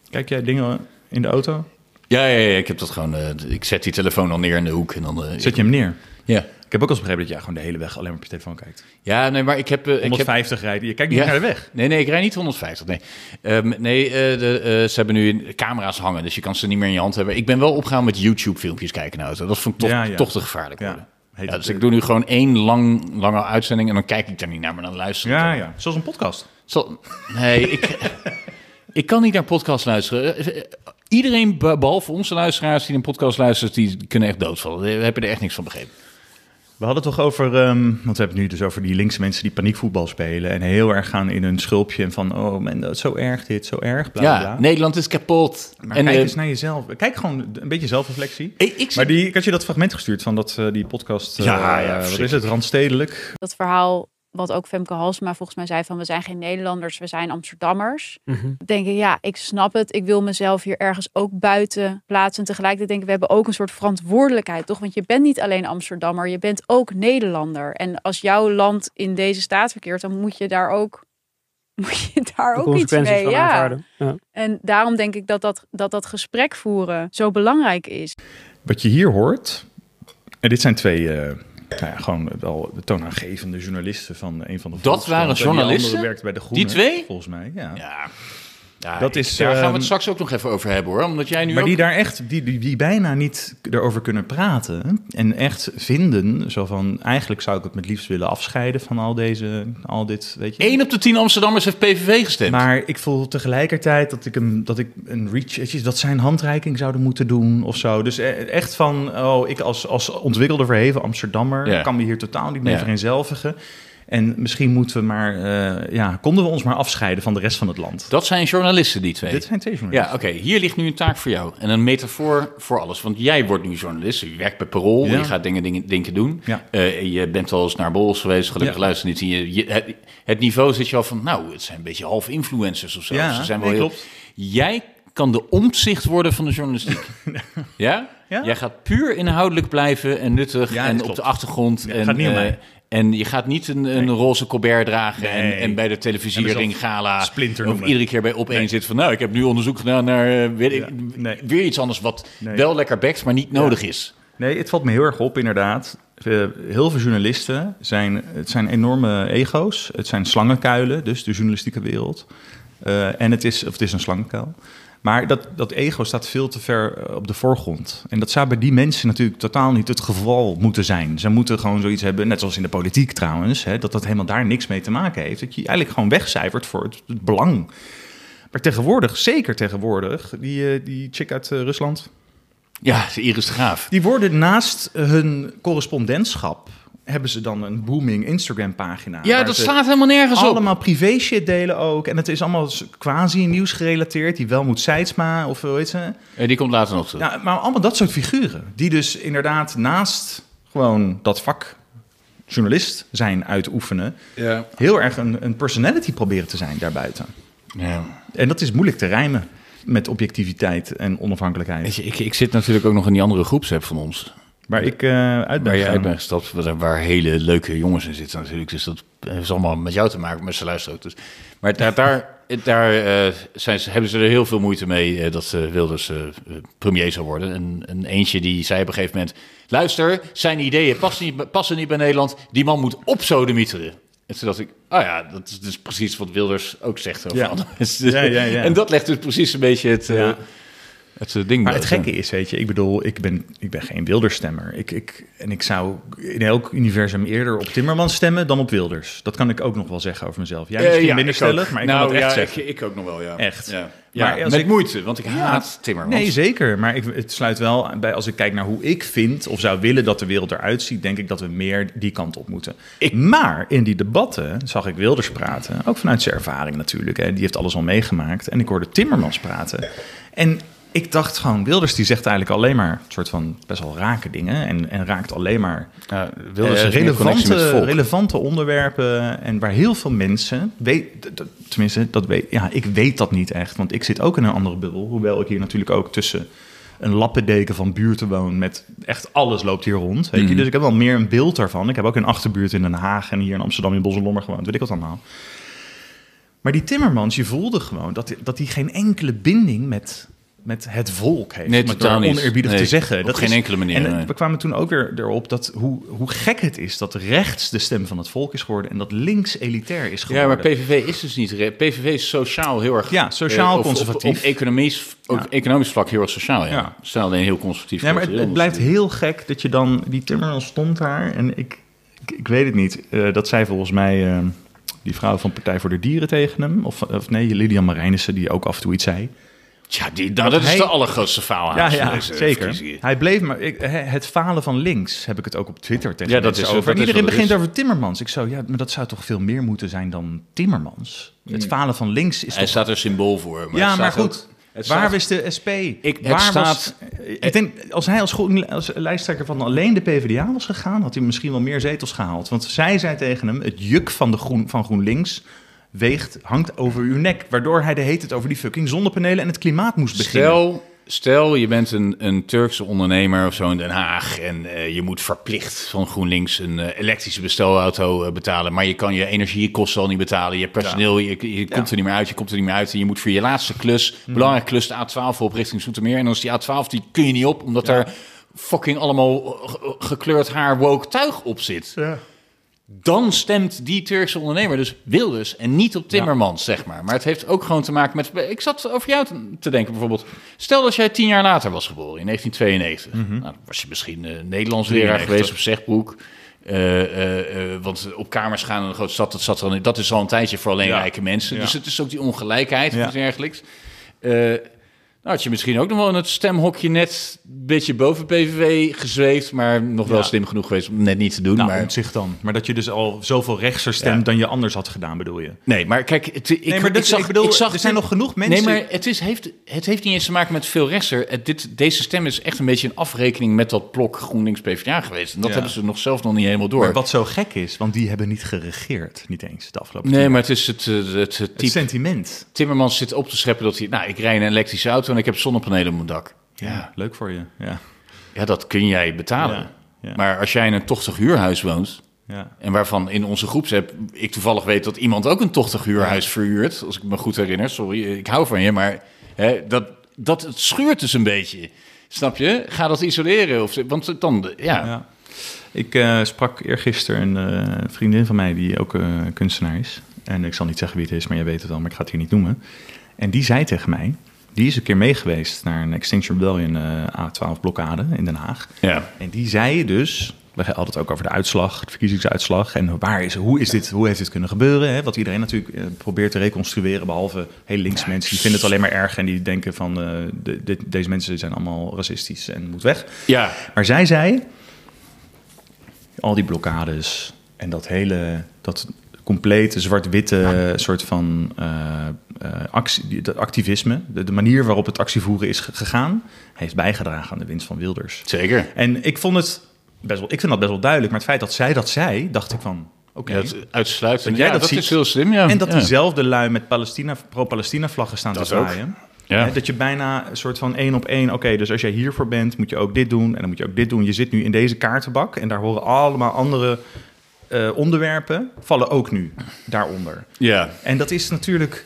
[SPEAKER 1] Kijk jij dingen in de auto?
[SPEAKER 2] Ja, ja, ja, ik heb dat gewoon. eh, ik zet die telefoon al neer in de hoek en dan. eh,
[SPEAKER 1] Zet je hem neer?
[SPEAKER 2] Ja.
[SPEAKER 1] Ik heb ook al eens begrepen dat jij gewoon de hele weg alleen maar op je telefoon kijkt.
[SPEAKER 2] Ja, nee, maar ik heb... eh, ik heb
[SPEAKER 1] 150 rijden, je kijkt niet naar de weg.
[SPEAKER 2] Nee, nee, ik rijd niet 150. Nee, Ehm, nee eh, de, eh, ze hebben nu camera's hangen, dus je kan ze niet meer in je hand hebben. Ik ben wel opgegaan met YouTube-filmpjes kijken naar auto. Dat vond ik toch,
[SPEAKER 1] Ja, ja.
[SPEAKER 2] toch te gevaarlijk
[SPEAKER 1] Ja.
[SPEAKER 2] worden.
[SPEAKER 1] Heet
[SPEAKER 2] Ja,
[SPEAKER 1] het,
[SPEAKER 2] dus ik
[SPEAKER 1] eh,
[SPEAKER 2] doe nu gewoon één lang, lange uitzending en dan kijk ik daar niet naar, maar dan luister ik.
[SPEAKER 1] Ja,
[SPEAKER 2] er.
[SPEAKER 1] ja. Zoals een podcast.
[SPEAKER 2] Zal- nee, ik, (laughs) ik kan niet naar podcasts luisteren. Eh, eh, Iedereen, be- behalve onze luisteraars die een podcast luistert, die kunnen echt doodvallen. We hebben er echt niks van begrepen.
[SPEAKER 1] We hadden het toch over, ehm, want we hebben het nu dus over die linkse mensen die paniekvoetbal spelen en heel erg gaan in hun schulpje en van, oh man, dat is zo erg dit, zo erg, bla
[SPEAKER 2] ja,
[SPEAKER 1] bla.
[SPEAKER 2] Nederland is kapot.
[SPEAKER 1] Maar kijk
[SPEAKER 2] eh,
[SPEAKER 1] eens naar jezelf. Kijk gewoon een beetje zelfreflectie.
[SPEAKER 2] ik, ik
[SPEAKER 1] Maar die, ik had je dat fragment gestuurd van dat, eh, die podcast. eh,
[SPEAKER 2] Ja, ja,
[SPEAKER 1] wat
[SPEAKER 2] verschrikkelijk.
[SPEAKER 1] is het? Randstedelijk.
[SPEAKER 3] dat verhaal wat ook Femke Halsema volgens mij zei van we zijn geen Nederlanders, we zijn Amsterdammers.
[SPEAKER 4] Mhm.
[SPEAKER 3] Denk ik, ja, ik snap het. Ik wil mezelf hier ergens ook buiten plaatsen. En tegelijkertijd denk ik, we hebben ook een soort verantwoordelijkheid, toch? Want je bent niet alleen Amsterdammer, je bent ook Nederlander. En als jouw land in deze staat verkeert, dan moet je daar ook, (laughs) moet je daar ook iets
[SPEAKER 4] consequenties
[SPEAKER 3] mee.
[SPEAKER 4] van
[SPEAKER 3] Ja.
[SPEAKER 4] aanvaarden. Ja.
[SPEAKER 3] En daarom denk ik dat dat, dat dat gesprek voeren zo belangrijk is.
[SPEAKER 1] Wat je hier hoort. En dit zijn twee, eh, nou ja, gewoon wel de toonaangevende journalisten van een van de.
[SPEAKER 2] Dat
[SPEAKER 1] Volkskrant.
[SPEAKER 2] waren
[SPEAKER 1] En die andere
[SPEAKER 2] journalisten?
[SPEAKER 1] werkt bij de Groene,
[SPEAKER 2] twee?
[SPEAKER 1] Volgens mij, ja.
[SPEAKER 2] Ja. Ja,
[SPEAKER 1] Dat
[SPEAKER 2] ik-
[SPEAKER 1] is,
[SPEAKER 2] daar gaan we
[SPEAKER 1] ehm,
[SPEAKER 2] het straks ook nog even over hebben hoor. Omdat jij nu
[SPEAKER 1] Maar
[SPEAKER 2] ook...
[SPEAKER 1] die daar echt, die, die, die bijna niet erover kunnen praten. En echt vinden, zo van, eigenlijk zou ik het met liefst willen afscheiden van al deze, al dit, weet je.
[SPEAKER 2] 1 op de 10 Amsterdammers heeft PVV gestemd.
[SPEAKER 1] Maar ik voel tegelijkertijd dat ik, hem, dat ik een reach, weet je, dat zij een handreiking zouden moeten doen of zo. Dus e- echt van, oh, ik als, als ontwikkelde verheven Amsterdammer
[SPEAKER 2] Ja.
[SPEAKER 1] kan me hier totaal niet mee
[SPEAKER 2] Ja.
[SPEAKER 1] vereenzelvigen. En misschien moeten we maar, eh, ja, konden we ons maar afscheiden van de rest van het land.
[SPEAKER 2] Dat zijn journalisten, die twee.
[SPEAKER 1] Dit zijn twee journalisten.
[SPEAKER 2] Ja, oké. Hier ligt nu een taak voor jou. En een metafoor voor alles. Want jij wordt nu journalist. Je werkt bij Parool.
[SPEAKER 1] Ja.
[SPEAKER 2] Je gaat dingen, dingen, dingen doen.
[SPEAKER 1] Ja.
[SPEAKER 2] Eh, je bent wel eens naar borrels geweest. Gelukkig
[SPEAKER 1] Ja.
[SPEAKER 2] luister niet. Je, je- het, het niveau zit je al van... Nou, het zijn een beetje half influencers of zo.
[SPEAKER 1] Ja,
[SPEAKER 2] Ze zijn wel
[SPEAKER 1] nee,
[SPEAKER 2] heel-
[SPEAKER 1] klopt.
[SPEAKER 2] Jij kan de omzicht worden van de
[SPEAKER 1] (laughs)
[SPEAKER 2] journalistiek. ja?
[SPEAKER 1] Ja.
[SPEAKER 2] Jij gaat puur inhoudelijk blijven en nuttig.
[SPEAKER 1] Ja,
[SPEAKER 2] en
[SPEAKER 1] dit
[SPEAKER 2] op
[SPEAKER 1] klopt.
[SPEAKER 2] de achtergrond.
[SPEAKER 1] Ja,
[SPEAKER 2] en,
[SPEAKER 1] gaat niet om
[SPEAKER 2] eh,
[SPEAKER 1] mij.
[SPEAKER 2] en je gaat niet een, een roze colbert dragen
[SPEAKER 1] Nee.
[SPEAKER 2] en, en bij de televisiering gala
[SPEAKER 1] Splinter
[SPEAKER 2] of
[SPEAKER 1] noemen.
[SPEAKER 2] iedere keer bij opeen zit van nou ik heb nu onderzoek gedaan naar eh, weet ik,
[SPEAKER 1] Ja, nee.
[SPEAKER 2] weer iets anders wat
[SPEAKER 1] Nee.
[SPEAKER 2] wel lekker bekt maar niet nodig is.
[SPEAKER 1] Nee, het valt me heel erg op, inderdaad. Eh, heel veel journalisten zijn, het zijn enorme ego's. Het zijn slangenkuilen, dus de journalistieke wereld. Eh, en het is, of het is een slangenkuil. Maar dat, dat ego staat veel te ver eh, op de voorgrond. En dat zou bij die mensen natuurlijk totaal niet het geval moeten zijn. Ze moeten gewoon zoiets hebben, net zoals in de politiek trouwens, hè, dat dat helemaal daar niks mee te maken heeft. Dat je je eigenlijk gewoon wegcijfert voor het, het belang. Maar tegenwoordig, zeker tegenwoordig, die, eh, die chick uit eh, Rusland,
[SPEAKER 2] Ja, ze Iris de Graaf.
[SPEAKER 1] die worden naast hun correspondentschap hebben ze dan een booming Instagram pagina.
[SPEAKER 2] Ja, dat slaat helemaal nergens op.
[SPEAKER 1] allemaal privé shit delen ook. En het is allemaal quasi nieuws gerelateerd. Die Welmoed Seidsma of hoe heet ze.
[SPEAKER 2] Eh, die komt later nog terug.
[SPEAKER 1] Ja, maar allemaal dat soort figuren. Die dus inderdaad naast gewoon dat vak journalist zijn uitoefenen.
[SPEAKER 2] Ja.
[SPEAKER 1] Heel erg een, een personality proberen te zijn daarbuiten. En dat is moeilijk te rijmen met objectiviteit en
[SPEAKER 2] Weet
[SPEAKER 1] onafhankelijkheid.
[SPEAKER 2] je, ik, ik zit natuurlijk ook nog in die andere groepsapp van ons.
[SPEAKER 1] Waar ik eh uit ben
[SPEAKER 2] Waar je uit
[SPEAKER 1] gegaan.
[SPEAKER 2] bent gestapt, waar, waar hele leuke jongens in zitten natuurlijk. Dus dat heeft allemaal met jou te maken, maar ze luisteren ook. Dus. Maar daar, daar, daar eh, zijn ze, hebben ze er heel veel moeite mee eh, dat eh, Wilders eh, premier zou worden. En, en eentje die zei op een gegeven moment... Luister, zijn ideeën passen niet, passen niet bij Nederland. Die man moet opsodemieteren. En toen dacht ik, oh ja, dat is dus precies wat Wilders ook zegt over
[SPEAKER 1] Ja.
[SPEAKER 2] andere mensen.
[SPEAKER 1] Ja, ja, ja.
[SPEAKER 2] (laughs) En dat legt dus precies een beetje het, eh,
[SPEAKER 1] Ja.
[SPEAKER 2] het eh, ding
[SPEAKER 1] Maar het
[SPEAKER 2] bloot,
[SPEAKER 1] gekke is, weet je, ik bedoel, ik ben, ik ben geen Wildersstemmer. Ik, ik, en ik zou in elk universum eerder op Timmermans stemmen dan op Wilders. Dat kan ik ook nog wel zeggen over mezelf. Jij
[SPEAKER 2] Eh,
[SPEAKER 1] misschien
[SPEAKER 2] ja,
[SPEAKER 1] minder
[SPEAKER 2] ik ook.
[SPEAKER 1] stellig, maar ik
[SPEAKER 2] nou,
[SPEAKER 1] kan dat echt
[SPEAKER 2] ja,
[SPEAKER 1] zeggen.
[SPEAKER 2] Ik, ik ook nog wel, ja.
[SPEAKER 1] Echt.
[SPEAKER 2] Ja, ja.
[SPEAKER 1] Maar als
[SPEAKER 2] met
[SPEAKER 1] ik-
[SPEAKER 2] moeite, want ik haat Timmermans.
[SPEAKER 1] Nee, zeker. Maar ik, het sluit wel bij, als ik kijk naar hoe ik vind of zou willen dat de wereld eruit ziet, denk ik dat we meer die kant op moeten.
[SPEAKER 2] Ik-
[SPEAKER 1] Maar in die debatten zag ik Wilders praten, ook vanuit zijn ervaring natuurlijk. Hè. Die heeft alles al meegemaakt. En ik hoorde Timmermans praten. En ik dacht gewoon, Wilders die zegt eigenlijk alleen maar soort van best wel rake dingen. En, en raakt alleen maar eh, relevante, relevante onderwerpen en waar heel veel mensen, weet, d- d- tenminste, dat weet, ja, ik weet dat niet echt, want ik zit ook in een andere bubbel, hoewel ik hier natuurlijk ook tussen een lappendeken van buurten woon met echt alles loopt hier rond, weet
[SPEAKER 2] Mhm.
[SPEAKER 1] je, dus ik heb wel meer een beeld daarvan. Ik heb ook een achterbuurt in Den Haag en hier in Amsterdam in Bos en Lommer gewoond, weet ik wat allemaal. Maar die Timmermans, je voelde gewoon dat, dat hij geen enkele binding met met het volk heeft.
[SPEAKER 2] Nee,
[SPEAKER 1] om het
[SPEAKER 2] totaal
[SPEAKER 1] maar
[SPEAKER 2] niet.
[SPEAKER 1] oneerbiedig
[SPEAKER 2] Nee,
[SPEAKER 1] te zeggen.
[SPEAKER 2] op geen
[SPEAKER 1] is-
[SPEAKER 2] enkele manier,
[SPEAKER 1] En
[SPEAKER 2] nee.
[SPEAKER 1] we kwamen toen ook weer erop dat hoe, hoe gek het is dat rechts de stem van het volk is geworden en dat links elitair is
[SPEAKER 2] Ja,
[SPEAKER 1] geworden.
[SPEAKER 2] maar PVV is dus niet... re- PVV is sociaal heel erg...
[SPEAKER 1] Ja, sociaal
[SPEAKER 2] eh, op- Op,
[SPEAKER 1] conservatief.
[SPEAKER 2] op, economisch, op
[SPEAKER 1] Ja.
[SPEAKER 2] economisch vlak heel erg sociaal, ja.
[SPEAKER 1] Ja.
[SPEAKER 2] Ze staan alleen heel conservatief.
[SPEAKER 1] Nee, maar het, het
[SPEAKER 2] cultureel
[SPEAKER 1] blijft
[SPEAKER 2] natuurlijk.
[SPEAKER 1] heel gek dat je dan... Die Timmermans stond daar en ik, ik, ik weet het niet. Eh, dat zei volgens mij eh, die vrouw van Partij voor de Dieren tegen hem. Of, of nee, Lilian Marijnissen, die ook af en toe iets zei.
[SPEAKER 2] Tja, die, nou, dat is
[SPEAKER 1] hij-
[SPEAKER 2] de allergrootste faal
[SPEAKER 1] Ja, ja
[SPEAKER 2] eh,
[SPEAKER 1] zeker. Hij bleef maar... ik- hè, het falen van links heb ik het ook op Twitter tegen
[SPEAKER 2] Ja, dat
[SPEAKER 1] mensen
[SPEAKER 2] is-
[SPEAKER 1] over.
[SPEAKER 2] dat
[SPEAKER 1] En
[SPEAKER 2] is
[SPEAKER 1] iedereen
[SPEAKER 2] wat het
[SPEAKER 1] begint over Timmermans. Ik zo, ja, maar dat zou toch veel meer moeten zijn dan Timmermans? Het falen van links is
[SPEAKER 2] Hmm. Hij
[SPEAKER 1] toch...
[SPEAKER 2] staat er symbool voor. Maar
[SPEAKER 1] ja,
[SPEAKER 2] het
[SPEAKER 1] maar
[SPEAKER 2] staat ook-
[SPEAKER 1] goed.
[SPEAKER 2] het
[SPEAKER 1] waar
[SPEAKER 2] staat-
[SPEAKER 1] wist de SP?
[SPEAKER 2] Ik- het
[SPEAKER 1] waar
[SPEAKER 2] staat-
[SPEAKER 1] was, ik denk, als hij als, groen- als lijsttrekker van alleen de PvdA was gegaan... had hij misschien wel meer zetels gehaald. Want zij zei tegen hem, het juk van, de groen, van GroenLinks... Weegt, hangt over uw nek. Waardoor hij de heet het over die fucking zonnepanelen en het klimaat moest beginnen.
[SPEAKER 2] Stel, stel je bent een, een Turkse ondernemer of zo in Den Haag en eh, je moet verplicht van GroenLinks een eh, elektrische bestelauto eh, betalen, maar je kan je energiekosten al niet betalen, je personeel, je, je komt er niet meer uit, je komt er niet meer uit en je moet voor je laatste klus,
[SPEAKER 1] Mhm.
[SPEAKER 2] belangrijke klus, de A12 op richting Zoetermeer en dan is die A12, die kun je niet op, omdat er fucking allemaal eh, ge- gekleurd haar woke tuig op zit. Dan stemt die Turkse ondernemer dus Wilders en niet op Timmermans, zeg maar. Maar het heeft ook gewoon te maken met... Ik zat over jou te, te denken bijvoorbeeld. Stel dat jij tien jaar later was geboren, in 1992.
[SPEAKER 1] Mhm.
[SPEAKER 2] Nou, dan was je misschien eh, Nederlands
[SPEAKER 1] 93.
[SPEAKER 2] leraar geweest op Zegbroek. Eh, eh, eh, want op kamers gaan in een grote stad, dat, zat er al in- dat is al een tijdje voor alleen
[SPEAKER 1] Ja.
[SPEAKER 2] rijke mensen.
[SPEAKER 1] Ja.
[SPEAKER 2] Dus het is ook die ongelijkheid of
[SPEAKER 1] Ja.
[SPEAKER 2] iets dergelijks. Eh nou, had je misschien ook nog wel in het stemhokje net een beetje boven PVV gezweefd, maar nog wel
[SPEAKER 1] Ja.
[SPEAKER 2] slim genoeg geweest om het net niet te doen.
[SPEAKER 1] Nou,
[SPEAKER 2] maar...
[SPEAKER 1] op zich dan. Maar dat je dus al zoveel rechtser stemt
[SPEAKER 2] Ja.
[SPEAKER 1] dan je anders had gedaan, bedoel je?
[SPEAKER 2] Nee, maar kijk, het, ik,
[SPEAKER 1] Nee, maar
[SPEAKER 2] ik
[SPEAKER 1] dit-
[SPEAKER 2] zag,
[SPEAKER 1] ik bedoel,
[SPEAKER 2] zag
[SPEAKER 1] er zijn nog genoeg mensen-
[SPEAKER 2] Nee, maar het, is, heeft, het heeft niet eens te maken met veel rechtser. Het, dit, deze stem is echt een beetje een afrekening met dat blok GroenLinks-PVDA geweest. En dat
[SPEAKER 1] Ja.
[SPEAKER 2] hebben ze nog zelf nog niet helemaal door.
[SPEAKER 1] Maar wat zo gek is, want die hebben niet geregeerd, niet eens de afgelopen
[SPEAKER 2] nee,
[SPEAKER 1] tien
[SPEAKER 2] maar
[SPEAKER 1] jaar.
[SPEAKER 2] het is het, eh, het, het
[SPEAKER 1] het
[SPEAKER 2] type...
[SPEAKER 1] sentiment.
[SPEAKER 2] Timmermans zit op te scheppen dat hij... Nou, ik rij in een elektrische auto en ik heb zonnepanelen op mijn dak.
[SPEAKER 1] Ja.
[SPEAKER 2] Ja,
[SPEAKER 1] leuk voor je. Ja,
[SPEAKER 2] ja dat kun jij betalen.
[SPEAKER 1] Ja, ja.
[SPEAKER 2] Maar als jij in een tochtig huurhuis woont...
[SPEAKER 1] ja.
[SPEAKER 2] En waarvan in onze groepsapp ik toevallig weet dat iemand ook een tochtig huurhuis verhuurt. Als ik me goed herinner. Sorry, ik hou van je. Maar hè, dat, dat het schuurt dus een beetje. Snap je? Ga dat isoleren. Of, want dan, ja.
[SPEAKER 1] ja. Ik eh, sprak eergisteren een eh, vriendin van mij die ook eh, kunstenaar is. En ik zal niet zeggen wie het is, maar je weet het al, maar ik ga het hier niet noemen. En die zei tegen mij, die is een keer mee geweest naar een Extinction Rebellion eh, A12-blokkade in Den Haag.
[SPEAKER 2] ja.
[SPEAKER 1] En die zei dus, we hadden het ook over de uitslag, de verkiezingsuitslag. En waar is, hoe, is dit, hoe heeft dit kunnen gebeuren? Hè? Wat iedereen natuurlijk eh, probeert te reconstrueren, behalve heel links mensen. Die vinden het alleen maar erg en die denken van eh, de- dit- deze mensen zijn allemaal racistisch en moet weg.
[SPEAKER 2] ja.
[SPEAKER 1] Maar zij zei, al die blokkades en dat hele, dat complete zwart-witte soort van eh, eh, actie, die- dat activisme, de, de manier waarop het actievoeren is ge- gegaan, heeft bijgedragen aan de winst van Wilders.
[SPEAKER 2] Zeker.
[SPEAKER 1] En ik vond het best wel, ik vind dat best wel duidelijk. Maar het feit dat zij dat zei, dacht ik van, oké.
[SPEAKER 2] Ja, het uitsluiten.
[SPEAKER 1] Dat jij
[SPEAKER 2] ja,
[SPEAKER 1] dat
[SPEAKER 2] dat
[SPEAKER 1] ziet.
[SPEAKER 2] is heel slim, ja.
[SPEAKER 1] En dat
[SPEAKER 2] ja.
[SPEAKER 1] diezelfde lui met Palestina, pro-Palestina vlaggen staan
[SPEAKER 2] Dat
[SPEAKER 1] te zwaaien.
[SPEAKER 2] Ja.
[SPEAKER 1] Hè, Dat je bijna een soort van één op één... Oké, dus als jij hiervoor bent, moet je ook dit doen. En dan moet je ook dit doen. Je zit nu in deze kaartenbak. En daar horen allemaal andere eh, onderwerpen... vallen ook nu daaronder.
[SPEAKER 2] Ja.
[SPEAKER 1] En dat is natuurlijk...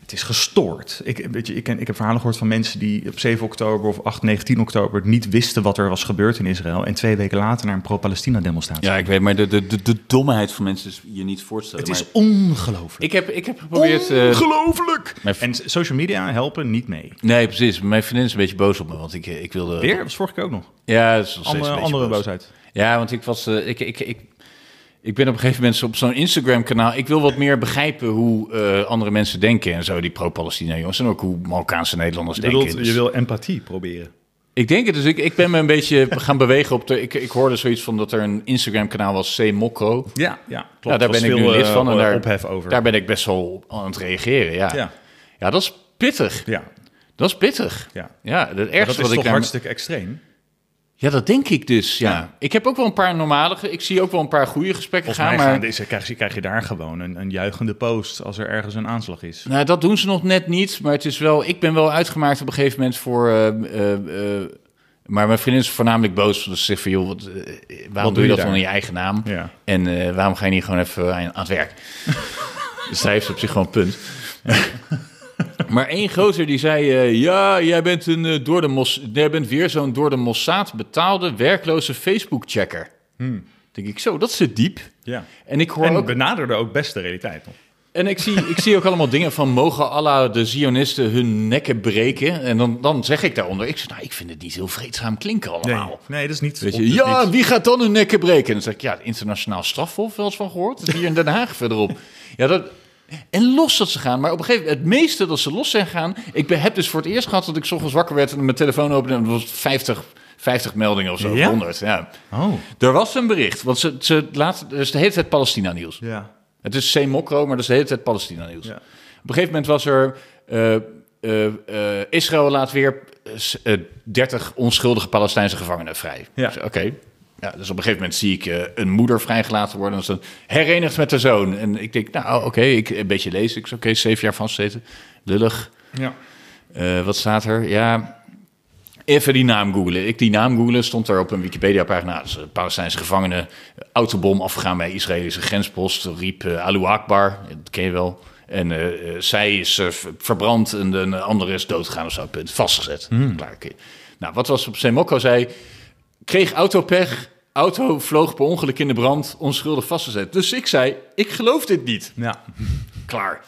[SPEAKER 1] Het is gestoord. Ik, weet je, ik, ken- ik heb verhalen gehoord van mensen die op 7 oktober of 8, 19 oktober niet wisten wat er was gebeurd in Israël. En twee weken later naar een pro-Palestina-demonstratie.
[SPEAKER 2] ja, ik weet, maar de, de, de, de domheid van mensen is je niet voor te stellen.
[SPEAKER 1] Het is
[SPEAKER 2] maar-
[SPEAKER 1] ongelooflijk.
[SPEAKER 2] ik, heb, ik heb geprobeerd... eh,
[SPEAKER 1] Ongelooflijk!
[SPEAKER 2] mijn v-
[SPEAKER 1] En s- social media helpen niet mee.
[SPEAKER 2] nee, precies. Mijn vriendin is een beetje boos op me, want ik, eh, ik wilde...
[SPEAKER 1] Weer? Dat was vorige keer ook nog.
[SPEAKER 2] Ja, het is nog steeds
[SPEAKER 1] Andere,
[SPEAKER 2] een beetje
[SPEAKER 1] andere
[SPEAKER 2] boos.
[SPEAKER 1] boosheid.
[SPEAKER 2] Ja, want ik was. eh, ik, ik, ik, ik ben op een gegeven moment op zo'n Instagram-kanaal. Ik wil wat meer begrijpen hoe eh, andere mensen denken en zo, die pro-Palestina jongens. En ook hoe Marokkaanse Nederlanders denken. Dus
[SPEAKER 1] wil empathie proberen.
[SPEAKER 2] Ik denk het, dus ik, ik ben me een beetje (laughs) gaan bewegen op de. Ik, ik hoorde zoiets van dat er een Instagram-kanaal was, C. Mokko.
[SPEAKER 1] Ja, ja klopt.
[SPEAKER 2] Ja, daar
[SPEAKER 1] Er was
[SPEAKER 2] ben ik nu
[SPEAKER 1] veel,
[SPEAKER 2] lid
[SPEAKER 1] eh,
[SPEAKER 2] van en daar,
[SPEAKER 1] ophef over.
[SPEAKER 2] daar ben ik best wel aan het reageren. Ja, ja.
[SPEAKER 1] Ja.
[SPEAKER 2] dat is pittig.
[SPEAKER 1] ja,
[SPEAKER 2] Dat is pittig.
[SPEAKER 1] ja. Maar
[SPEAKER 2] Ja, het
[SPEAKER 1] dat is
[SPEAKER 2] ergste wat
[SPEAKER 1] toch
[SPEAKER 2] ik daar-
[SPEAKER 1] hartstikke extreem?
[SPEAKER 2] Ja, dat denk ik dus. Ja. ik heb ook wel een paar normale. ge- Ik zie ook wel een paar goede gesprekken
[SPEAKER 1] Volgens mij
[SPEAKER 2] gaan, maar
[SPEAKER 1] gaan deze, krijg, je, krijg je daar gewoon een, een juichende post als er ergens een aanslag is.
[SPEAKER 2] Nou, dat doen ze nog net niet. Maar het is wel, ik ben wel uitgemaakt op een gegeven moment voor. eh, eh, eh, maar mijn vriendin is voornamelijk boos. Dus ze zegt van, joh, wat, eh, waarom doe je dat
[SPEAKER 1] daar?
[SPEAKER 2] dan in je eigen naam?
[SPEAKER 1] Ja.
[SPEAKER 2] En eh, waarom ga je niet gewoon even aan, aan het werk? dus zij heeft op zich gewoon een punt. (laughs) Maar één gozer die zei, eh, ja, jij bent, een, eh, door de mos jij bent weer zo'n door de Mossad betaalde werkloze Facebook-checker. denk ik, zo, dat zit diep.
[SPEAKER 1] Ja.
[SPEAKER 2] En ik hoor
[SPEAKER 1] En
[SPEAKER 2] ook...
[SPEAKER 1] benaderde ook best de realiteit. nog.
[SPEAKER 2] En ik zie, ik zie ook allemaal dingen van mogen Allah de Zionisten hun nekken breken. En dan, dan zeg ik daaronder, ik, zeg, nou, ik vind het niet heel vreedzaam klinken
[SPEAKER 1] Nee,
[SPEAKER 2] allemaal.
[SPEAKER 1] nee, dat is niet.
[SPEAKER 2] Weet
[SPEAKER 1] op-
[SPEAKER 2] je,
[SPEAKER 1] dat is
[SPEAKER 2] ja,
[SPEAKER 1] niet-
[SPEAKER 2] wie gaat dan hun nekken breken? En dan zeg ik, ja, het internationaal strafhof wel eens van gehoord. Dat is hier in Den Haag (laughs) verderop. Ja, dat, en los dat ze gaan. Maar op een gegeven moment, het meeste dat ze los zijn gaan... Ik ben, heb dus voor het eerst gehad dat ik 's ochtends wakker werd... en mijn telefoon opende en er was 50, 50 meldingen of zo, of
[SPEAKER 1] Ja?
[SPEAKER 2] 100. Ja.
[SPEAKER 1] Oh,
[SPEAKER 2] Er was een bericht, want ze, ze laten, er is de hele tijd Palestina-nieuws.
[SPEAKER 1] ja.
[SPEAKER 2] Het is C-Mokro, maar dat is de hele tijd Palestina-nieuws.
[SPEAKER 1] Ja.
[SPEAKER 2] Op een gegeven moment was er... eh, eh, eh, Israël laat weer eh, s- eh, 30 onschuldige Palestijnse gevangenen vrij.
[SPEAKER 1] Ja.
[SPEAKER 2] Dus, Oké. Ja, dus op een gegeven moment zie ik eh, een moeder vrijgelaten worden. als een herenigd met haar zoon. En ik denk, nou oké, ik een beetje lezen. Ik zeg, oké, zeven jaar vastzeten. Lullig.
[SPEAKER 1] ja.
[SPEAKER 2] Eh, wat staat er? Ja, even die naam googlen. Ik die naam googlen, stond daar op een Wikipedia-pagina. Nou, dus, eh, Palestijnse gevangenen, eh, autobom afgegaan bij Israëlische grenspost, riep eh Alu Akbar, dat ken je wel. En eh, eh, zij is eh, v- verbrand en de een andere is doodgegaan of zo, punt. vastgezet. Klaar, oké. Nou, wat was op Semokko zei, kreeg autopech, auto vloog per ongeluk in de brand, onschuldig vastgezet. Dus ik zei, ik geloof dit niet.
[SPEAKER 1] ja.
[SPEAKER 2] Klaar.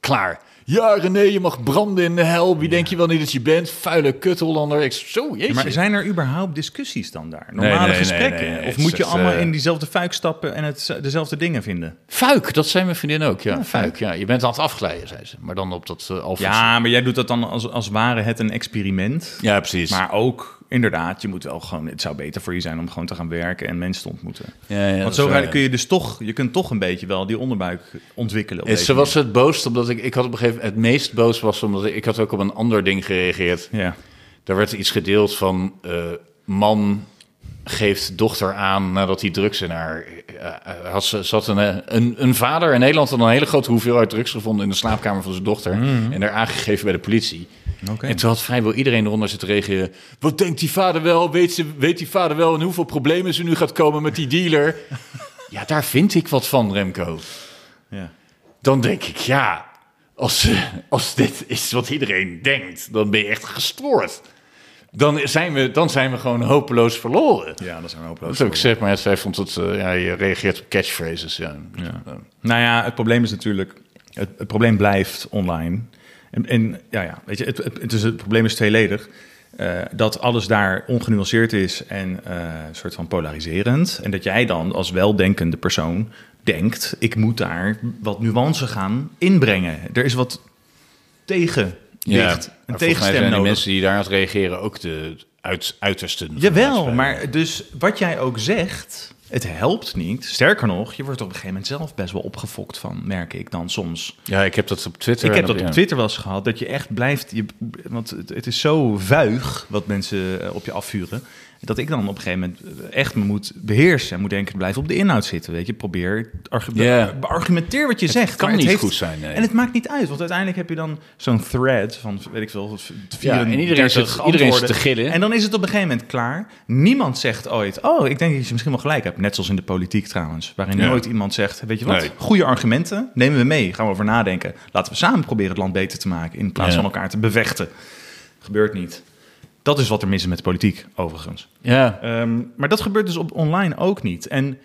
[SPEAKER 2] Klaar. Ja, René, je mag branden in de hel. Wie denk je wel niet dat je bent? Vuile kut Hollander. Ik, zo, jeetje.
[SPEAKER 1] Maar zijn er überhaupt discussies dan daar? Normale
[SPEAKER 2] nee, nee,
[SPEAKER 1] gesprekken?
[SPEAKER 2] nee, nee. Het
[SPEAKER 1] Of
[SPEAKER 2] is
[SPEAKER 1] moet je
[SPEAKER 2] echt,
[SPEAKER 1] allemaal
[SPEAKER 2] eh,
[SPEAKER 1] in diezelfde fuik stappen en het, dezelfde dingen vinden?
[SPEAKER 2] Fuik, dat zei mijn vriendin ook. Ja, fuik. Ja, je bent aan het afglijden, zei ze. Maar dan op dat eh alfa-
[SPEAKER 1] Ja, maar jij doet dat dan als, als ware het een experiment.
[SPEAKER 2] ja, precies.
[SPEAKER 1] Maar ook, inderdaad, je moet wel gewoon... Het zou beter voor je zijn om gewoon te gaan werken en mensen te ontmoeten.
[SPEAKER 2] Ja, ja, dat
[SPEAKER 1] Want
[SPEAKER 2] is
[SPEAKER 1] zo
[SPEAKER 2] waar, ja.
[SPEAKER 1] kun je dus toch... Je kunt toch een beetje wel die onderbuik ontwikkelen. op
[SPEAKER 2] En
[SPEAKER 1] deze
[SPEAKER 2] ze was het boos omdat ik, ik had op een gegeven moment het meest boos was omdat ik, ik had ook op een ander ding gereageerd.
[SPEAKER 1] manier. Ja.
[SPEAKER 2] Daar werd iets gedeeld van eh, man geeft dochter aan nadat hij drugs in haar... eh, eh, had ze, zat een, eh, een, een vader in Nederland had een hele grote hoeveelheid drugs gevonden in de slaapkamer van zijn dochter. En daar aangegeven bij de politie.
[SPEAKER 1] Oké.
[SPEAKER 2] En toen had vrijwel iedereen eronder zitten reageren. Wat denkt die vader wel? Weet, ze, weet die vader wel in hoeveel problemen ze nu gaat komen met die dealer? ja, daar vind ik wat van, Remco
[SPEAKER 1] Ja.
[SPEAKER 2] dan denk ik, ja, als, eh, als dit is wat iedereen denkt, dan ben je echt gestoord. Dan zijn we, dan zijn we gewoon hopeloos verloren.
[SPEAKER 1] ja, dat is een
[SPEAKER 2] Dat
[SPEAKER 1] hopeloos.
[SPEAKER 2] heb ik gezegd, maar ja, zij vond het, eh, ja, je reageert op catchphrases. Ja.
[SPEAKER 1] Nou ja, het probleem is natuurlijk, het, het probleem blijft online. En, en ja, ja, weet je, het, het, het is, het probleem is tweeledig. Eh, dat alles daar ongenuanceerd is en eh, een soort van polariserend. En dat jij dan als weldenkende persoon denkt, ik moet daar wat nuance gaan inbrengen. Er is wat tegen ligt, een
[SPEAKER 2] maar volgens mij zijn
[SPEAKER 1] tegenstem
[SPEAKER 2] die
[SPEAKER 1] nodig.
[SPEAKER 2] mensen die daaruit reageren ook de uit, uitersten. van de
[SPEAKER 1] Jawel,
[SPEAKER 2] maatschappij.
[SPEAKER 1] maar dus wat jij ook zegt, het helpt niet. Sterker nog, je wordt op een gegeven moment zelf best wel opgefokt van, merk ik dan soms.
[SPEAKER 2] Ja, ik heb dat op Twitter.
[SPEAKER 1] Ik heb
[SPEAKER 2] en
[SPEAKER 1] dat
[SPEAKER 2] ja.
[SPEAKER 1] op Twitter wel eens gehad, dat je echt blijft... Je, want het, het is zo vuig wat mensen eh, op je afvuren... dat ik dan op een gegeven moment eh, echt me moet beheersen... en moet denken, blijf op de inhoud zitten, weet je. Probeer, argu-
[SPEAKER 2] Ja.
[SPEAKER 1] be- beargumenteer wat je zegt.
[SPEAKER 2] kan
[SPEAKER 1] maar
[SPEAKER 2] niet goed zijn, nee.
[SPEAKER 1] En het maakt niet uit, want uiteindelijk heb je dan zo'n thread van, weet ik veel...
[SPEAKER 2] Ja, en iedereen
[SPEAKER 1] 34
[SPEAKER 2] zit- iedereen zit te
[SPEAKER 1] antwoorden.
[SPEAKER 2] gillen.
[SPEAKER 1] En dan is het op een gegeven moment klaar. Niemand zegt ooit, oh, ik denk dat je misschien wel gelijk hebt. Net zoals in de politiek trouwens, waarin
[SPEAKER 2] Ja.
[SPEAKER 1] nooit iemand zegt, weet je wat...
[SPEAKER 2] Nee.
[SPEAKER 1] Goede argumenten nemen we mee, gaan we over nadenken. Laten we samen proberen het land beter te maken in plaats
[SPEAKER 2] Ja.
[SPEAKER 1] van elkaar te bevechten. Gebeurt niet. Dat is wat er mis is met politiek, overigens.
[SPEAKER 2] Ja,
[SPEAKER 1] Ehm, maar dat gebeurt dus op online ook niet. En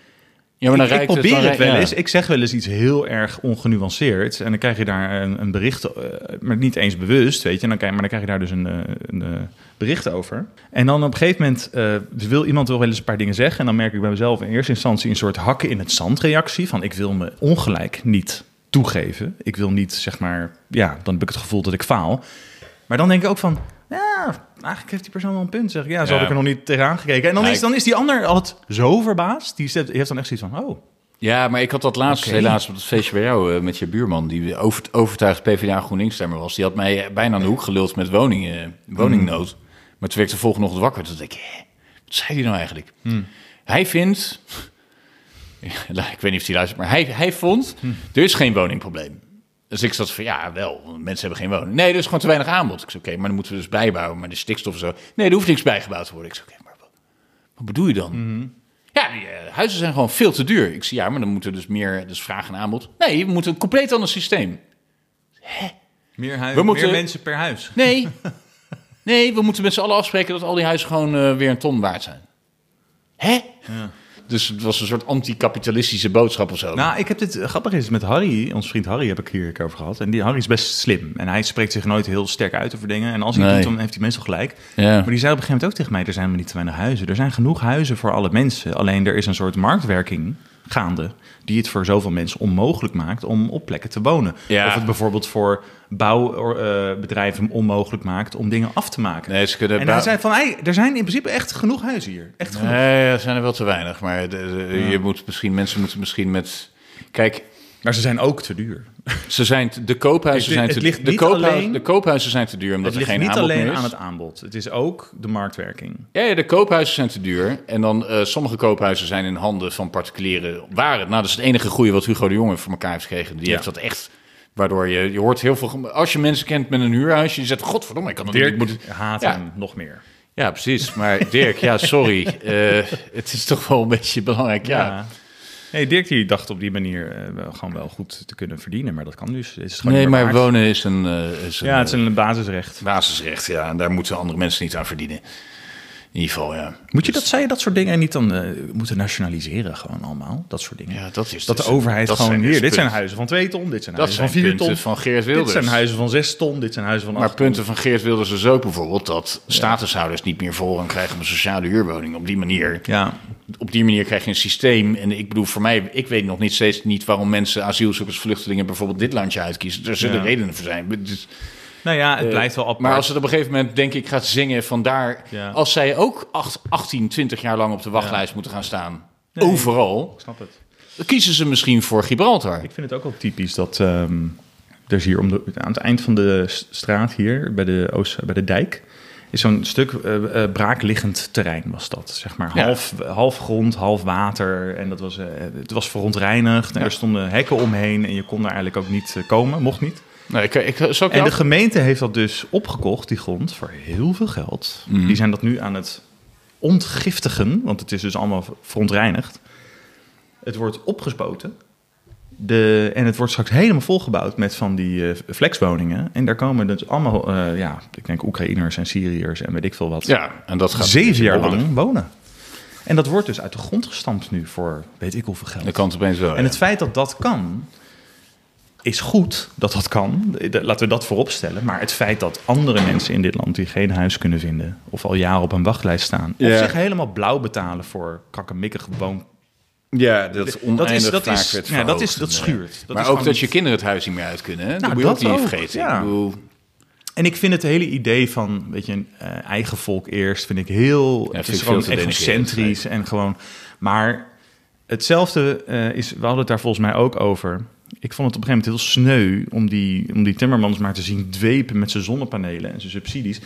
[SPEAKER 2] ja maar dan
[SPEAKER 1] ik, ik
[SPEAKER 2] reikt
[SPEAKER 1] probeer het,
[SPEAKER 2] dan
[SPEAKER 1] wel
[SPEAKER 2] reikt- ja.
[SPEAKER 1] eens. Ik zeg wel eens iets heel erg ongenuanceerd. En dan krijg je daar een, een bericht, eh, maar niet eens bewust, weet je. En dan krijg, maar dan krijg je daar dus een, eh, een eh, bericht over. En dan op een gegeven moment eh, wil iemand wel eens een paar dingen zeggen. En dan merk ik bij mezelf in eerste instantie een soort hakken in het zand reactie. Van ik wil me ongelijk niet toegeven. Ik wil niet, zeg maar, ja, dan heb ik het gevoel dat ik faal. Maar dan denk ik ook van, ja, eigenlijk heeft die persoon wel een punt. Zeg ik, ja, zo
[SPEAKER 2] Ja.
[SPEAKER 1] had ik er nog niet tegenaan gekeken. En dan
[SPEAKER 2] Nee,
[SPEAKER 1] is,
[SPEAKER 2] ik-
[SPEAKER 1] dan is die ander altijd zo verbaasd. Die zet- die heeft dan echt zoiets van, oh...
[SPEAKER 2] Ja, maar ik had dat laatst
[SPEAKER 1] Oké.
[SPEAKER 2] helaas op het feestje bij jou eh, met je buurman, die over, overtuigd PvdA GroenLinks stemmer was. Die had mij eh, bijna aan de hoek geluld met woningen, woningnood. Maar toen werd ik de volgende ochtend wakker. Toen dacht ik, hè, wat zei hij nou eigenlijk? Hij vindt, Nou, ik weet niet of hij luistert, maar hij, hij vond, er is geen woningprobleem. Dus ik zat van, ja, wel, want mensen hebben geen woning. Nee, er is gewoon te weinig aanbod. Ik zei, oké, maar dan moeten we dus bijbouwen, maar de stikstof en zo. Nee, er hoeft niks bijgebouwd te worden. Ik zei, oké, maar wat, wat bedoel je dan? Ja, die eh, huizen zijn gewoon veel te duur. Ik zie ja, maar dan moeten we dus meer dus vraag en aanbod. Nee, we moeten een compleet ander systeem. Hè?
[SPEAKER 1] Meer, hui-
[SPEAKER 2] We moeten-
[SPEAKER 1] meer mensen per huis.
[SPEAKER 2] Nee.
[SPEAKER 1] (laughs)
[SPEAKER 2] Nee, we moeten met z'n allen afspreken dat al die huizen gewoon eh, weer een ton waard zijn. Hè?
[SPEAKER 1] Ja.
[SPEAKER 2] Dus het was een soort anticapitalistische boodschap of zo.
[SPEAKER 1] Nou, ik heb dit grappig is met Harry, ons vriend Harry, heb ik hier een keer over gehad. En die Harry is best slim. En hij spreekt zich nooit heel sterk uit over dingen. En als hij
[SPEAKER 2] Nee.
[SPEAKER 1] het doet, dan heeft hij meestal gelijk.
[SPEAKER 2] ja.
[SPEAKER 1] Maar die zei op een gegeven moment ook tegen mij: er zijn maar niet te weinig huizen. Er zijn genoeg huizen voor alle mensen. Alleen er is een soort marktwerking gaande die het voor zoveel mensen onmogelijk maakt om op plekken te wonen.
[SPEAKER 2] Ja.
[SPEAKER 1] Of het bijvoorbeeld voor bouwbedrijven onmogelijk maakt om dingen af te maken.
[SPEAKER 2] Nee, ze kunnen...
[SPEAKER 1] en
[SPEAKER 2] bou-
[SPEAKER 1] hij zei van, hey, er zijn in principe echt genoeg huizen hier. Echt genoeg.
[SPEAKER 2] Nee, er zijn er wel te weinig. Maar de- de- je moet misschien, mensen moeten misschien met... Kijk,
[SPEAKER 1] Maar ze zijn ook te duur.
[SPEAKER 2] ze zijn te- de koophuizen
[SPEAKER 1] Het-
[SPEAKER 2] zijn
[SPEAKER 1] het
[SPEAKER 2] te
[SPEAKER 1] ligt
[SPEAKER 2] de
[SPEAKER 1] niet
[SPEAKER 2] koophuizen,
[SPEAKER 1] alleen-
[SPEAKER 2] de koophuizen zijn te duur
[SPEAKER 1] Het
[SPEAKER 2] omdat er
[SPEAKER 1] ligt
[SPEAKER 2] geen
[SPEAKER 1] niet
[SPEAKER 2] aanbod
[SPEAKER 1] alleen
[SPEAKER 2] meer is.
[SPEAKER 1] aan het aanbod. Het is ook de marktwerking.
[SPEAKER 2] Ja, ja, de koophuizen zijn te duur. En dan eh, sommige koophuizen zijn in handen van particulieren. Waren. Nou, dat is het enige goede wat Hugo de Jonge voor elkaar heeft gekregen. Die
[SPEAKER 1] Ja.
[SPEAKER 2] heeft dat echt. Waardoor je, je hoort heel veel. Als je mensen kent met een huurhuisje, je zegt: Godverdomme, ik kan het niet.
[SPEAKER 1] Dirk
[SPEAKER 2] Ik moet het-"
[SPEAKER 1] haat
[SPEAKER 2] Ja.
[SPEAKER 1] hem nog meer.
[SPEAKER 2] Ja, precies. Maar Dirk, ja,
[SPEAKER 1] (laughs)
[SPEAKER 2] sorry. Eh, het is toch wel een beetje belangrijk. Ja.
[SPEAKER 1] Nee, Dirk die dacht op die manier eh, wel- gewoon wel goed te kunnen verdienen. Maar dat kan dus. Het is gewoon
[SPEAKER 2] Nee,
[SPEAKER 1] niet meer
[SPEAKER 2] maar
[SPEAKER 1] waard.
[SPEAKER 2] wonen is een, eh, is een,
[SPEAKER 1] Ja, het is
[SPEAKER 2] eh,
[SPEAKER 1] een basisrecht.
[SPEAKER 2] basisrecht. Ja, en daar moeten andere mensen niet aan verdienen. In ieder geval, ja.
[SPEAKER 1] Moet je dat, zei je dat soort dingen niet dan eh, moeten nationaliseren gewoon allemaal? Dat soort dingen.
[SPEAKER 2] Ja, dat is
[SPEAKER 1] dat de
[SPEAKER 2] dus-
[SPEAKER 1] overheid
[SPEAKER 2] dat
[SPEAKER 1] gewoon
[SPEAKER 2] zijn
[SPEAKER 1] hier,
[SPEAKER 2] dus
[SPEAKER 1] dit zijn
[SPEAKER 2] punten.
[SPEAKER 1] huizen van 2 ton, dit zijn
[SPEAKER 2] Dat
[SPEAKER 1] huizen
[SPEAKER 2] zijn
[SPEAKER 1] van 4
[SPEAKER 2] punten
[SPEAKER 1] ton.
[SPEAKER 2] van Geert
[SPEAKER 1] dit
[SPEAKER 2] Wilders.
[SPEAKER 1] zijn huizen van 6 ton, dit zijn huizen van
[SPEAKER 2] Maar
[SPEAKER 1] 8
[SPEAKER 2] punten van Geert Wilders dus ook bijvoorbeeld dat statushouders niet meer voorrang krijgen op een sociale huurwoning. Op die manier.
[SPEAKER 1] Ja,
[SPEAKER 2] Op die manier krijg je een systeem. En ik bedoel, voor mij, ik weet nog niet steeds niet waarom mensen, asielzoekers, vluchtelingen bijvoorbeeld dit landje uitkiezen. Er zullen
[SPEAKER 1] Ja.
[SPEAKER 2] redenen voor zijn. Dus,
[SPEAKER 1] nou ja, het
[SPEAKER 2] eh,
[SPEAKER 1] blijft wel apart.
[SPEAKER 2] Maar als het op een gegeven moment, denk ik, gaat zingen van daar.
[SPEAKER 1] Ja.
[SPEAKER 2] Als zij ook acht, 18, 20 jaar lang op de wachtlijst moeten gaan staan. Overal.
[SPEAKER 1] Ik snap het.
[SPEAKER 2] Dan kiezen ze misschien voor Gibraltar.
[SPEAKER 1] Ik vind het ook wel typisch dat ehm, er is hier om de, aan het eind van de s- straat hier bij de, Oost, bij de dijk is zo'n stuk eh, eh, braakliggend terrein was dat. Zeg maar
[SPEAKER 2] Ja.
[SPEAKER 1] half, half grond, half water. En dat was, eh, het was verontreinigd. En
[SPEAKER 2] Ja.
[SPEAKER 1] er stonden hekken omheen en je kon daar eigenlijk ook niet eh, komen, mocht niet.
[SPEAKER 2] Nou, ik, ik, zal ik
[SPEAKER 1] En de
[SPEAKER 2] jou-
[SPEAKER 1] gemeente heeft dat dus opgekocht, die grond, voor heel veel geld.
[SPEAKER 2] Mhm.
[SPEAKER 1] Die zijn dat nu aan het ontgiftigen, want het is dus allemaal verontreinigd. Het wordt opgespoten. De, en het wordt straks helemaal volgebouwd met van die eh, flexwoningen. En daar komen dus allemaal, eh, ja, ik denk Oekraïners en Syriërs en weet ik veel wat.
[SPEAKER 2] ja, en dat gaat
[SPEAKER 1] zeven jaar
[SPEAKER 2] bobbelen.
[SPEAKER 1] lang wonen. En dat wordt dus uit de grond gestampt nu voor weet ik hoeveel geld.
[SPEAKER 2] Dat kan het opeens wel.
[SPEAKER 1] En
[SPEAKER 2] ja.
[SPEAKER 1] het feit dat dat kan, is goed dat dat kan. De- Laten we dat voorop stellen. Maar het feit dat andere mensen in dit land die geen huis kunnen vinden... of al jaren op een wachtlijst staan...
[SPEAKER 2] Ja.
[SPEAKER 1] of zich helemaal blauw betalen voor kakkemikkig woon...
[SPEAKER 2] Ja, dat oneindig
[SPEAKER 1] is- dat
[SPEAKER 2] vaak
[SPEAKER 1] is-
[SPEAKER 2] werd
[SPEAKER 1] ja, dat
[SPEAKER 2] verhoogd.
[SPEAKER 1] is- dat schuurt. Dat is
[SPEAKER 2] maar ook
[SPEAKER 1] gewoon
[SPEAKER 2] dat
[SPEAKER 1] niet-
[SPEAKER 2] je kinderen het huis niet meer uit kunnen. Hè? dat
[SPEAKER 1] Nou,
[SPEAKER 2] moet je ook
[SPEAKER 1] dat
[SPEAKER 2] niet
[SPEAKER 1] ook,
[SPEAKER 2] vergeten.
[SPEAKER 1] ja.
[SPEAKER 2] Ik bedoel,
[SPEAKER 1] En ik vind het hele idee van, weet je, een eh, eigen volk eerst... vind ik heel...
[SPEAKER 2] vind
[SPEAKER 1] het
[SPEAKER 2] ik
[SPEAKER 1] is
[SPEAKER 2] veel
[SPEAKER 1] gewoon
[SPEAKER 2] te denigrerend,
[SPEAKER 1] egocentrisch en gewoon... Maar hetzelfde eh, is... We hadden het daar volgens mij ook over... Ik vond het op een gegeven moment heel sneu om die, om die timmermans maar te zien dwepen met zijn zonnepanelen en zijn subsidies.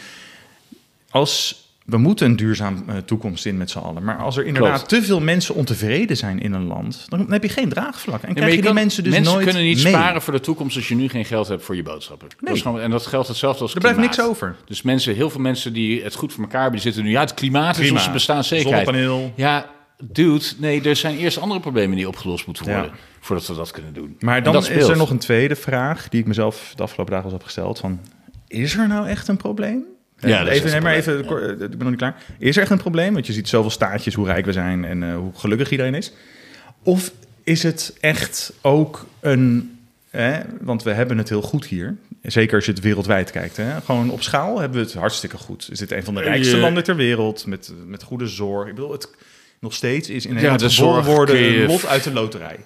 [SPEAKER 1] als we moeten een duurzaam eh, toekomst in met z'n allen. Maar als er inderdaad te veel mensen ontevreden zijn in een land, dan heb je geen draagvlak. En
[SPEAKER 2] nee, maar
[SPEAKER 1] krijg je,
[SPEAKER 2] je
[SPEAKER 1] die
[SPEAKER 2] kan-
[SPEAKER 1] mensen dus nooit
[SPEAKER 2] kunnen niet
[SPEAKER 1] mee.
[SPEAKER 2] sparen voor de toekomst als je nu geen geld hebt voor je boodschappen. Dat
[SPEAKER 1] Nee.
[SPEAKER 2] is gewoon- en dat geldt hetzelfde als
[SPEAKER 1] Er blijft
[SPEAKER 2] klimaat.
[SPEAKER 1] niks over.
[SPEAKER 2] Dus mensen, heel veel mensen die het goed voor elkaar hebben, die zitten nu... Ja, het klimaat is
[SPEAKER 1] Prima.
[SPEAKER 2] onze bestaanszekerheid.
[SPEAKER 1] Zonnepaneel.
[SPEAKER 2] Ja, dude, nee, er zijn eerst andere problemen die opgelost moeten worden...
[SPEAKER 1] Ja.
[SPEAKER 2] voordat we dat kunnen doen.
[SPEAKER 1] Maar
[SPEAKER 2] En
[SPEAKER 1] dan
[SPEAKER 2] dat
[SPEAKER 1] is
[SPEAKER 2] speelt.
[SPEAKER 1] er nog een tweede vraag die ik mezelf de afgelopen dagen was opgesteld. Van, is er nou echt een probleem?
[SPEAKER 2] Ja,
[SPEAKER 1] Eh,
[SPEAKER 2] dat is echt
[SPEAKER 1] even, nee, maar
[SPEAKER 2] een probleem,
[SPEAKER 1] even,
[SPEAKER 2] ja.
[SPEAKER 1] kor- eh, ik ben nog niet klaar. Is er echt een probleem? Want je ziet zoveel staatjes hoe rijk we zijn en eh, hoe gelukkig iedereen is. Of is het echt ook een... Hè, want we hebben het heel goed hier. Zeker als je het wereldwijd kijkt. Hè. Gewoon op schaal hebben we het hartstikke goed. Is dit een van de rijkste
[SPEAKER 2] Eh, je-
[SPEAKER 1] landen ter wereld? Met, met goede zorg. Ik bedoel, het nog steeds is in
[SPEAKER 2] de
[SPEAKER 1] Nederland
[SPEAKER 2] zorg
[SPEAKER 1] geboren worden
[SPEAKER 2] kun je-
[SPEAKER 1] een lot uit de loterij.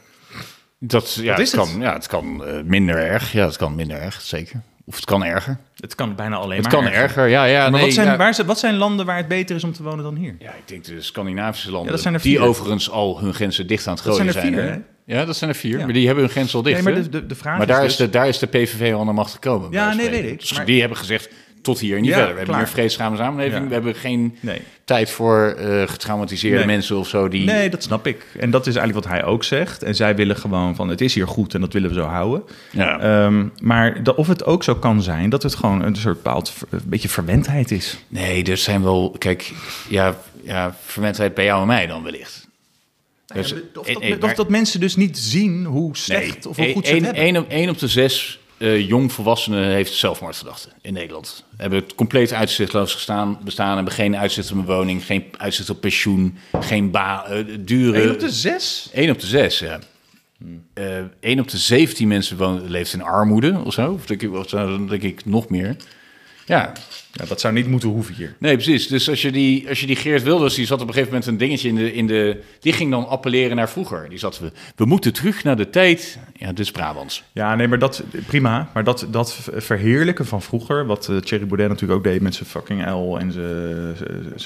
[SPEAKER 2] Dat, ja,
[SPEAKER 1] Dat is
[SPEAKER 2] het kan,
[SPEAKER 1] het.
[SPEAKER 2] Ja, het kan eh, minder erg. Ja, het kan minder erg, zeker. Of het kan erger.
[SPEAKER 1] Het kan bijna alleen
[SPEAKER 2] Het
[SPEAKER 1] maar
[SPEAKER 2] kan
[SPEAKER 1] erger.
[SPEAKER 2] erger, ja. ja
[SPEAKER 1] Maar
[SPEAKER 2] nee,
[SPEAKER 1] wat, zijn,
[SPEAKER 2] ja.
[SPEAKER 1] waar zijn- wat zijn landen waar het beter is om te wonen dan hier?
[SPEAKER 2] Ja, ik denk de Scandinavische landen.
[SPEAKER 1] Ja, dat zijn er
[SPEAKER 2] Die
[SPEAKER 1] vier.
[SPEAKER 2] overigens al hun grenzen dicht aan het
[SPEAKER 1] Dat
[SPEAKER 2] gooien
[SPEAKER 1] zijn er
[SPEAKER 2] hè?
[SPEAKER 1] vier,
[SPEAKER 2] Ja, dat zijn er vier.
[SPEAKER 1] Ja.
[SPEAKER 2] Maar die hebben hun grens al dicht.
[SPEAKER 1] Nee, maar
[SPEAKER 2] hè?
[SPEAKER 1] de, de, de vraag
[SPEAKER 2] Maar daar,
[SPEAKER 1] is
[SPEAKER 2] is
[SPEAKER 1] dus-
[SPEAKER 2] de, daar is de PVV al aan de macht gekomen. bij
[SPEAKER 1] Ja,
[SPEAKER 2] wijze van
[SPEAKER 1] nee,
[SPEAKER 2] spreken.
[SPEAKER 1] weet ik.
[SPEAKER 2] Dus
[SPEAKER 1] Maar-
[SPEAKER 2] die hebben gezegd, tot hier en niet
[SPEAKER 1] Ja,
[SPEAKER 2] verder. We hebben
[SPEAKER 1] klaar.
[SPEAKER 2] meer vreedzame samenleving.
[SPEAKER 1] Ja.
[SPEAKER 2] We hebben geen
[SPEAKER 1] Nee.
[SPEAKER 2] tijd voor eh, getraumatiseerde
[SPEAKER 1] Nee.
[SPEAKER 2] mensen of zo. Die...
[SPEAKER 1] Nee, dat snap ik. En dat is eigenlijk wat hij ook zegt. En zij willen gewoon van, het is hier goed en dat willen we zo houden.
[SPEAKER 2] Ja.
[SPEAKER 1] Ehm, maar dat- of het ook zo kan zijn dat het gewoon een soort bepaald, ver- een beetje verwendheid is.
[SPEAKER 2] Nee, er zijn wel... Kijk, ja, ja, verwendheid bij jou en mij dan wellicht. Dus-
[SPEAKER 1] of, dat,
[SPEAKER 2] eh, eh, maar-
[SPEAKER 1] mensen dus niet zien hoe slecht of hoe
[SPEAKER 2] Nee,
[SPEAKER 1] goed ze
[SPEAKER 2] één-
[SPEAKER 1] het hebben.
[SPEAKER 2] één op, één op de zes eh, jong volwassenen heeft zelfmoordgedachten in Nederland. Hebben het compleet uitzichtloos gestaan, bestaan, hebben geen uitzicht op een woning, geen uitzicht op pensioen, geen baan, dure...
[SPEAKER 1] Eén op de zes?
[SPEAKER 2] 1 op de 6, ja. Eh 1 op de 17 mensen woont, leeft in armoede of zo. Of denk ik, of zo, dan denk ik nog meer. Ja,
[SPEAKER 1] Ja, dat zou niet moeten hoeven hier.
[SPEAKER 2] nee, precies. Dus als je die, als je die Geert Wilders, die zat op een gegeven moment een dingetje in de, in de... Die ging dan appelleren naar vroeger. Die zat, we, we moeten terug naar de tijd... Ja, dit is Brabants.
[SPEAKER 1] Ja, nee, maar dat, prima. Maar dat, dat verheerlijken van vroeger, wat eh, Thierry Baudet natuurlijk ook deed met zijn fucking L en zijn,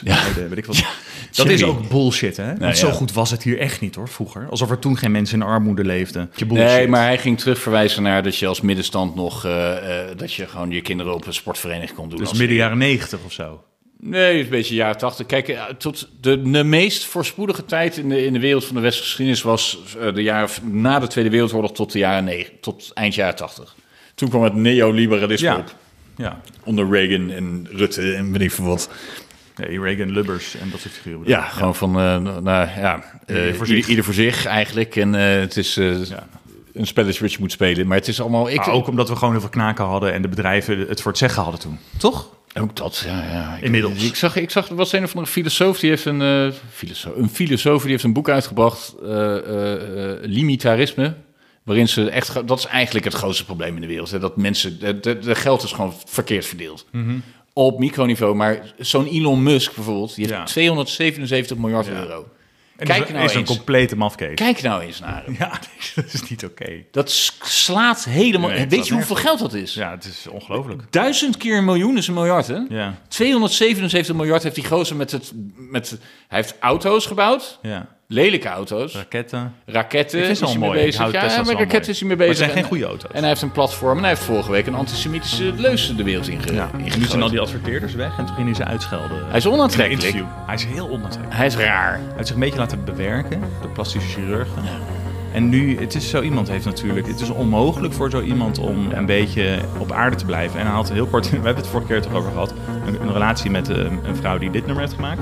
[SPEAKER 2] Ja.
[SPEAKER 1] weet ik wat.
[SPEAKER 2] (laughs) Ja,
[SPEAKER 1] dat
[SPEAKER 2] Thierry.
[SPEAKER 1] is ook bullshit, hè? Want
[SPEAKER 2] Nou,
[SPEAKER 1] zo
[SPEAKER 2] ja.
[SPEAKER 1] goed was het hier echt niet, hoor, vroeger. Alsof er toen geen mensen in armoede leefden. Je bullshit.
[SPEAKER 2] Nee, maar hij ging terugverwijzen naar dat je als middenstand nog... eh, eh, dat je gewoon je kinderen op een sportvereniging kon doen.
[SPEAKER 1] Dus
[SPEAKER 2] als-
[SPEAKER 1] midden jaren negentig of zo.
[SPEAKER 2] Nee, een beetje jaren tachtig. Kijk, eh, tot de, de meest voorspoedige tijd in de, in de wereld van de westergeschiedenis was eh, de jaren v- na de Tweede Wereldoorlog tot de jaren negen, tot eind jaren tachtig. Toen kwam het neoliberalisme
[SPEAKER 1] Ja.
[SPEAKER 2] op
[SPEAKER 1] Ja.
[SPEAKER 2] onder Reagan en Rutte en weet ik veel wat.
[SPEAKER 1] Nee, Reagan, Lubbers en dat soort figuren. bedoel
[SPEAKER 2] Ja,
[SPEAKER 1] ik.
[SPEAKER 2] gewoon van, eh, nou ja, eh,
[SPEAKER 1] Ieder voor
[SPEAKER 2] ieder,
[SPEAKER 1] zich.
[SPEAKER 2] ieder voor zich eigenlijk. En eh, het is eh,
[SPEAKER 1] Ja.
[SPEAKER 2] een spelletje wat je moet spelen, maar het is allemaal... Ik,
[SPEAKER 1] Maar ook omdat we gewoon heel veel knaken hadden en de bedrijven het voor het zeggen hadden toen. Toch?
[SPEAKER 2] Ook dat, ja. ja. Ik-
[SPEAKER 1] Inmiddels.
[SPEAKER 2] Ik zag, ik zag er was een of andere filosoof, die heeft een, eh, filosoof, een filosoof, die heeft een boek uitgebracht, eh, eh, eh, Limitarisme. Waarin ze echt, ge- dat is eigenlijk het grootste probleem in de wereld. Hè? Dat mensen, de, de, de geld is gewoon verkeerd verdeeld. Op microniveau, maar zo'n Elon Musk bijvoorbeeld, die heeft
[SPEAKER 1] Ja.
[SPEAKER 2] 277 miljard euro.
[SPEAKER 1] En
[SPEAKER 2] Kijk
[SPEAKER 1] is,
[SPEAKER 2] nou
[SPEAKER 1] is een
[SPEAKER 2] eens.
[SPEAKER 1] complete mafkees.
[SPEAKER 2] Kijk nou eens naar hem.
[SPEAKER 1] (laughs) Ja, (laughs) dat is niet oké.
[SPEAKER 2] Dat s- slaat helemaal,
[SPEAKER 1] Nee, het
[SPEAKER 2] weet
[SPEAKER 1] slaat
[SPEAKER 2] je hoeveel geld dat is?
[SPEAKER 1] Ja, het is ongelooflijk.
[SPEAKER 2] Duizend keer een miljoen is een miljard, hè?
[SPEAKER 1] Ja,
[SPEAKER 2] 277 miljard heeft die gozer met het... Met, hij heeft auto's gebouwd,
[SPEAKER 1] ja.
[SPEAKER 2] lelijke auto's,
[SPEAKER 1] Raketten.
[SPEAKER 2] raketten
[SPEAKER 1] Ik vind ze
[SPEAKER 2] is
[SPEAKER 1] al
[SPEAKER 2] hij mee
[SPEAKER 1] Eh, mooi. Ik
[SPEAKER 2] bezig.
[SPEAKER 1] hou
[SPEAKER 2] Ja,
[SPEAKER 1] Tesla's
[SPEAKER 2] met
[SPEAKER 1] wel
[SPEAKER 2] raketten
[SPEAKER 1] mooi.
[SPEAKER 2] is hij mee
[SPEAKER 1] Maar
[SPEAKER 2] bezig.
[SPEAKER 1] het zijn geen
[SPEAKER 2] En- eh,
[SPEAKER 1] goede auto's.
[SPEAKER 2] En hij heeft een platform en hij heeft vorige week een antisemitische leus de wereld inge
[SPEAKER 1] Ja,
[SPEAKER 2] ingegooid.
[SPEAKER 1] nu zijn al die adverteerders weg en toen gingen ze uitschelden.
[SPEAKER 2] Hij is onaantrekkelijk.
[SPEAKER 1] Hij is heel onaantrekkelijk.
[SPEAKER 2] Hij is raar.
[SPEAKER 1] Hij heeft zich een beetje laten bewerken door plastische chirurgen. En nu, het is zo iemand heeft natuurlijk, het is onmogelijk voor zo iemand om een beetje op aarde te blijven. En hij had heel kort, (laughs) we hebben het vorige keer toch over gehad, een, een relatie met eh, een vrouw die dit nummer heeft gemaakt.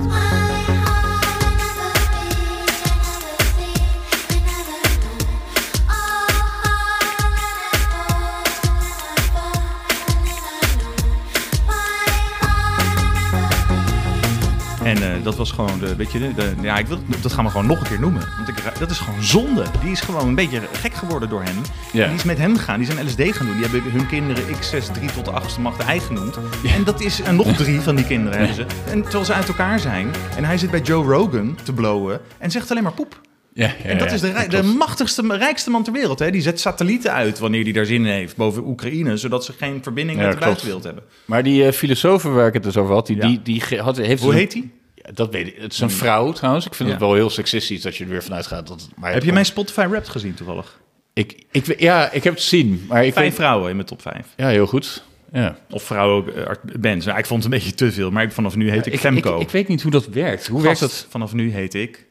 [SPEAKER 1] En eh, dat was gewoon de, weet je, de, de- ja, ik wil, dat gaan we gewoon nog een keer noemen. Want ik, dat is gewoon zonde. Die is gewoon een beetje gek geworden door hem.
[SPEAKER 2] Ja.
[SPEAKER 1] En Die is met hem gegaan, die zijn LSD gaan doen. Die hebben hun kinderen X6, 3 tot de 8 macht ei genoemd. En dat is, en nog drie van die kinderen hebben ze. En terwijl ze uit elkaar zijn. En hij zit bij Joe Rogan te blowen en zegt alleen maar poep.
[SPEAKER 2] Ja,
[SPEAKER 1] En dat is de, rij- de machtigste, rijkste man ter wereld. Hè? Die zet satellieten uit wanneer hij daar zin in heeft boven Oekraïne. Zodat ze geen verbinding
[SPEAKER 2] Ja,
[SPEAKER 1] met de
[SPEAKER 2] klopt.
[SPEAKER 1] buitenwereld hebben.
[SPEAKER 2] Maar die eh filosofen waar ik het dus over had, die,
[SPEAKER 1] Ja.
[SPEAKER 2] die, die ge- had, heeft...
[SPEAKER 1] Hoe
[SPEAKER 2] een-
[SPEAKER 1] heet hij?
[SPEAKER 2] Ja, dat weet ik. Het is een vrouw trouwens. Ik vind
[SPEAKER 1] Ja.
[SPEAKER 2] het wel heel seksistisch dat je er weer vanuit gaat. Dat, maar
[SPEAKER 1] Heb je mijn Spotify Wrapped gezien toevallig?
[SPEAKER 2] Ik, ik, weet- ja, ik heb het zien. Maar ik
[SPEAKER 1] Vijf
[SPEAKER 2] weet-
[SPEAKER 1] vrouwen in mijn top 5.
[SPEAKER 2] Ja, heel goed. Ja.
[SPEAKER 1] Of vrouwen art- bands. Nou, ik vond het een beetje te veel, maar ik, vanaf nu heet ik, Femco.
[SPEAKER 2] Ik, ik weet niet hoe dat werkt. Hoe werkt
[SPEAKER 1] Gast,
[SPEAKER 2] dat?
[SPEAKER 1] Vanaf nu heet ik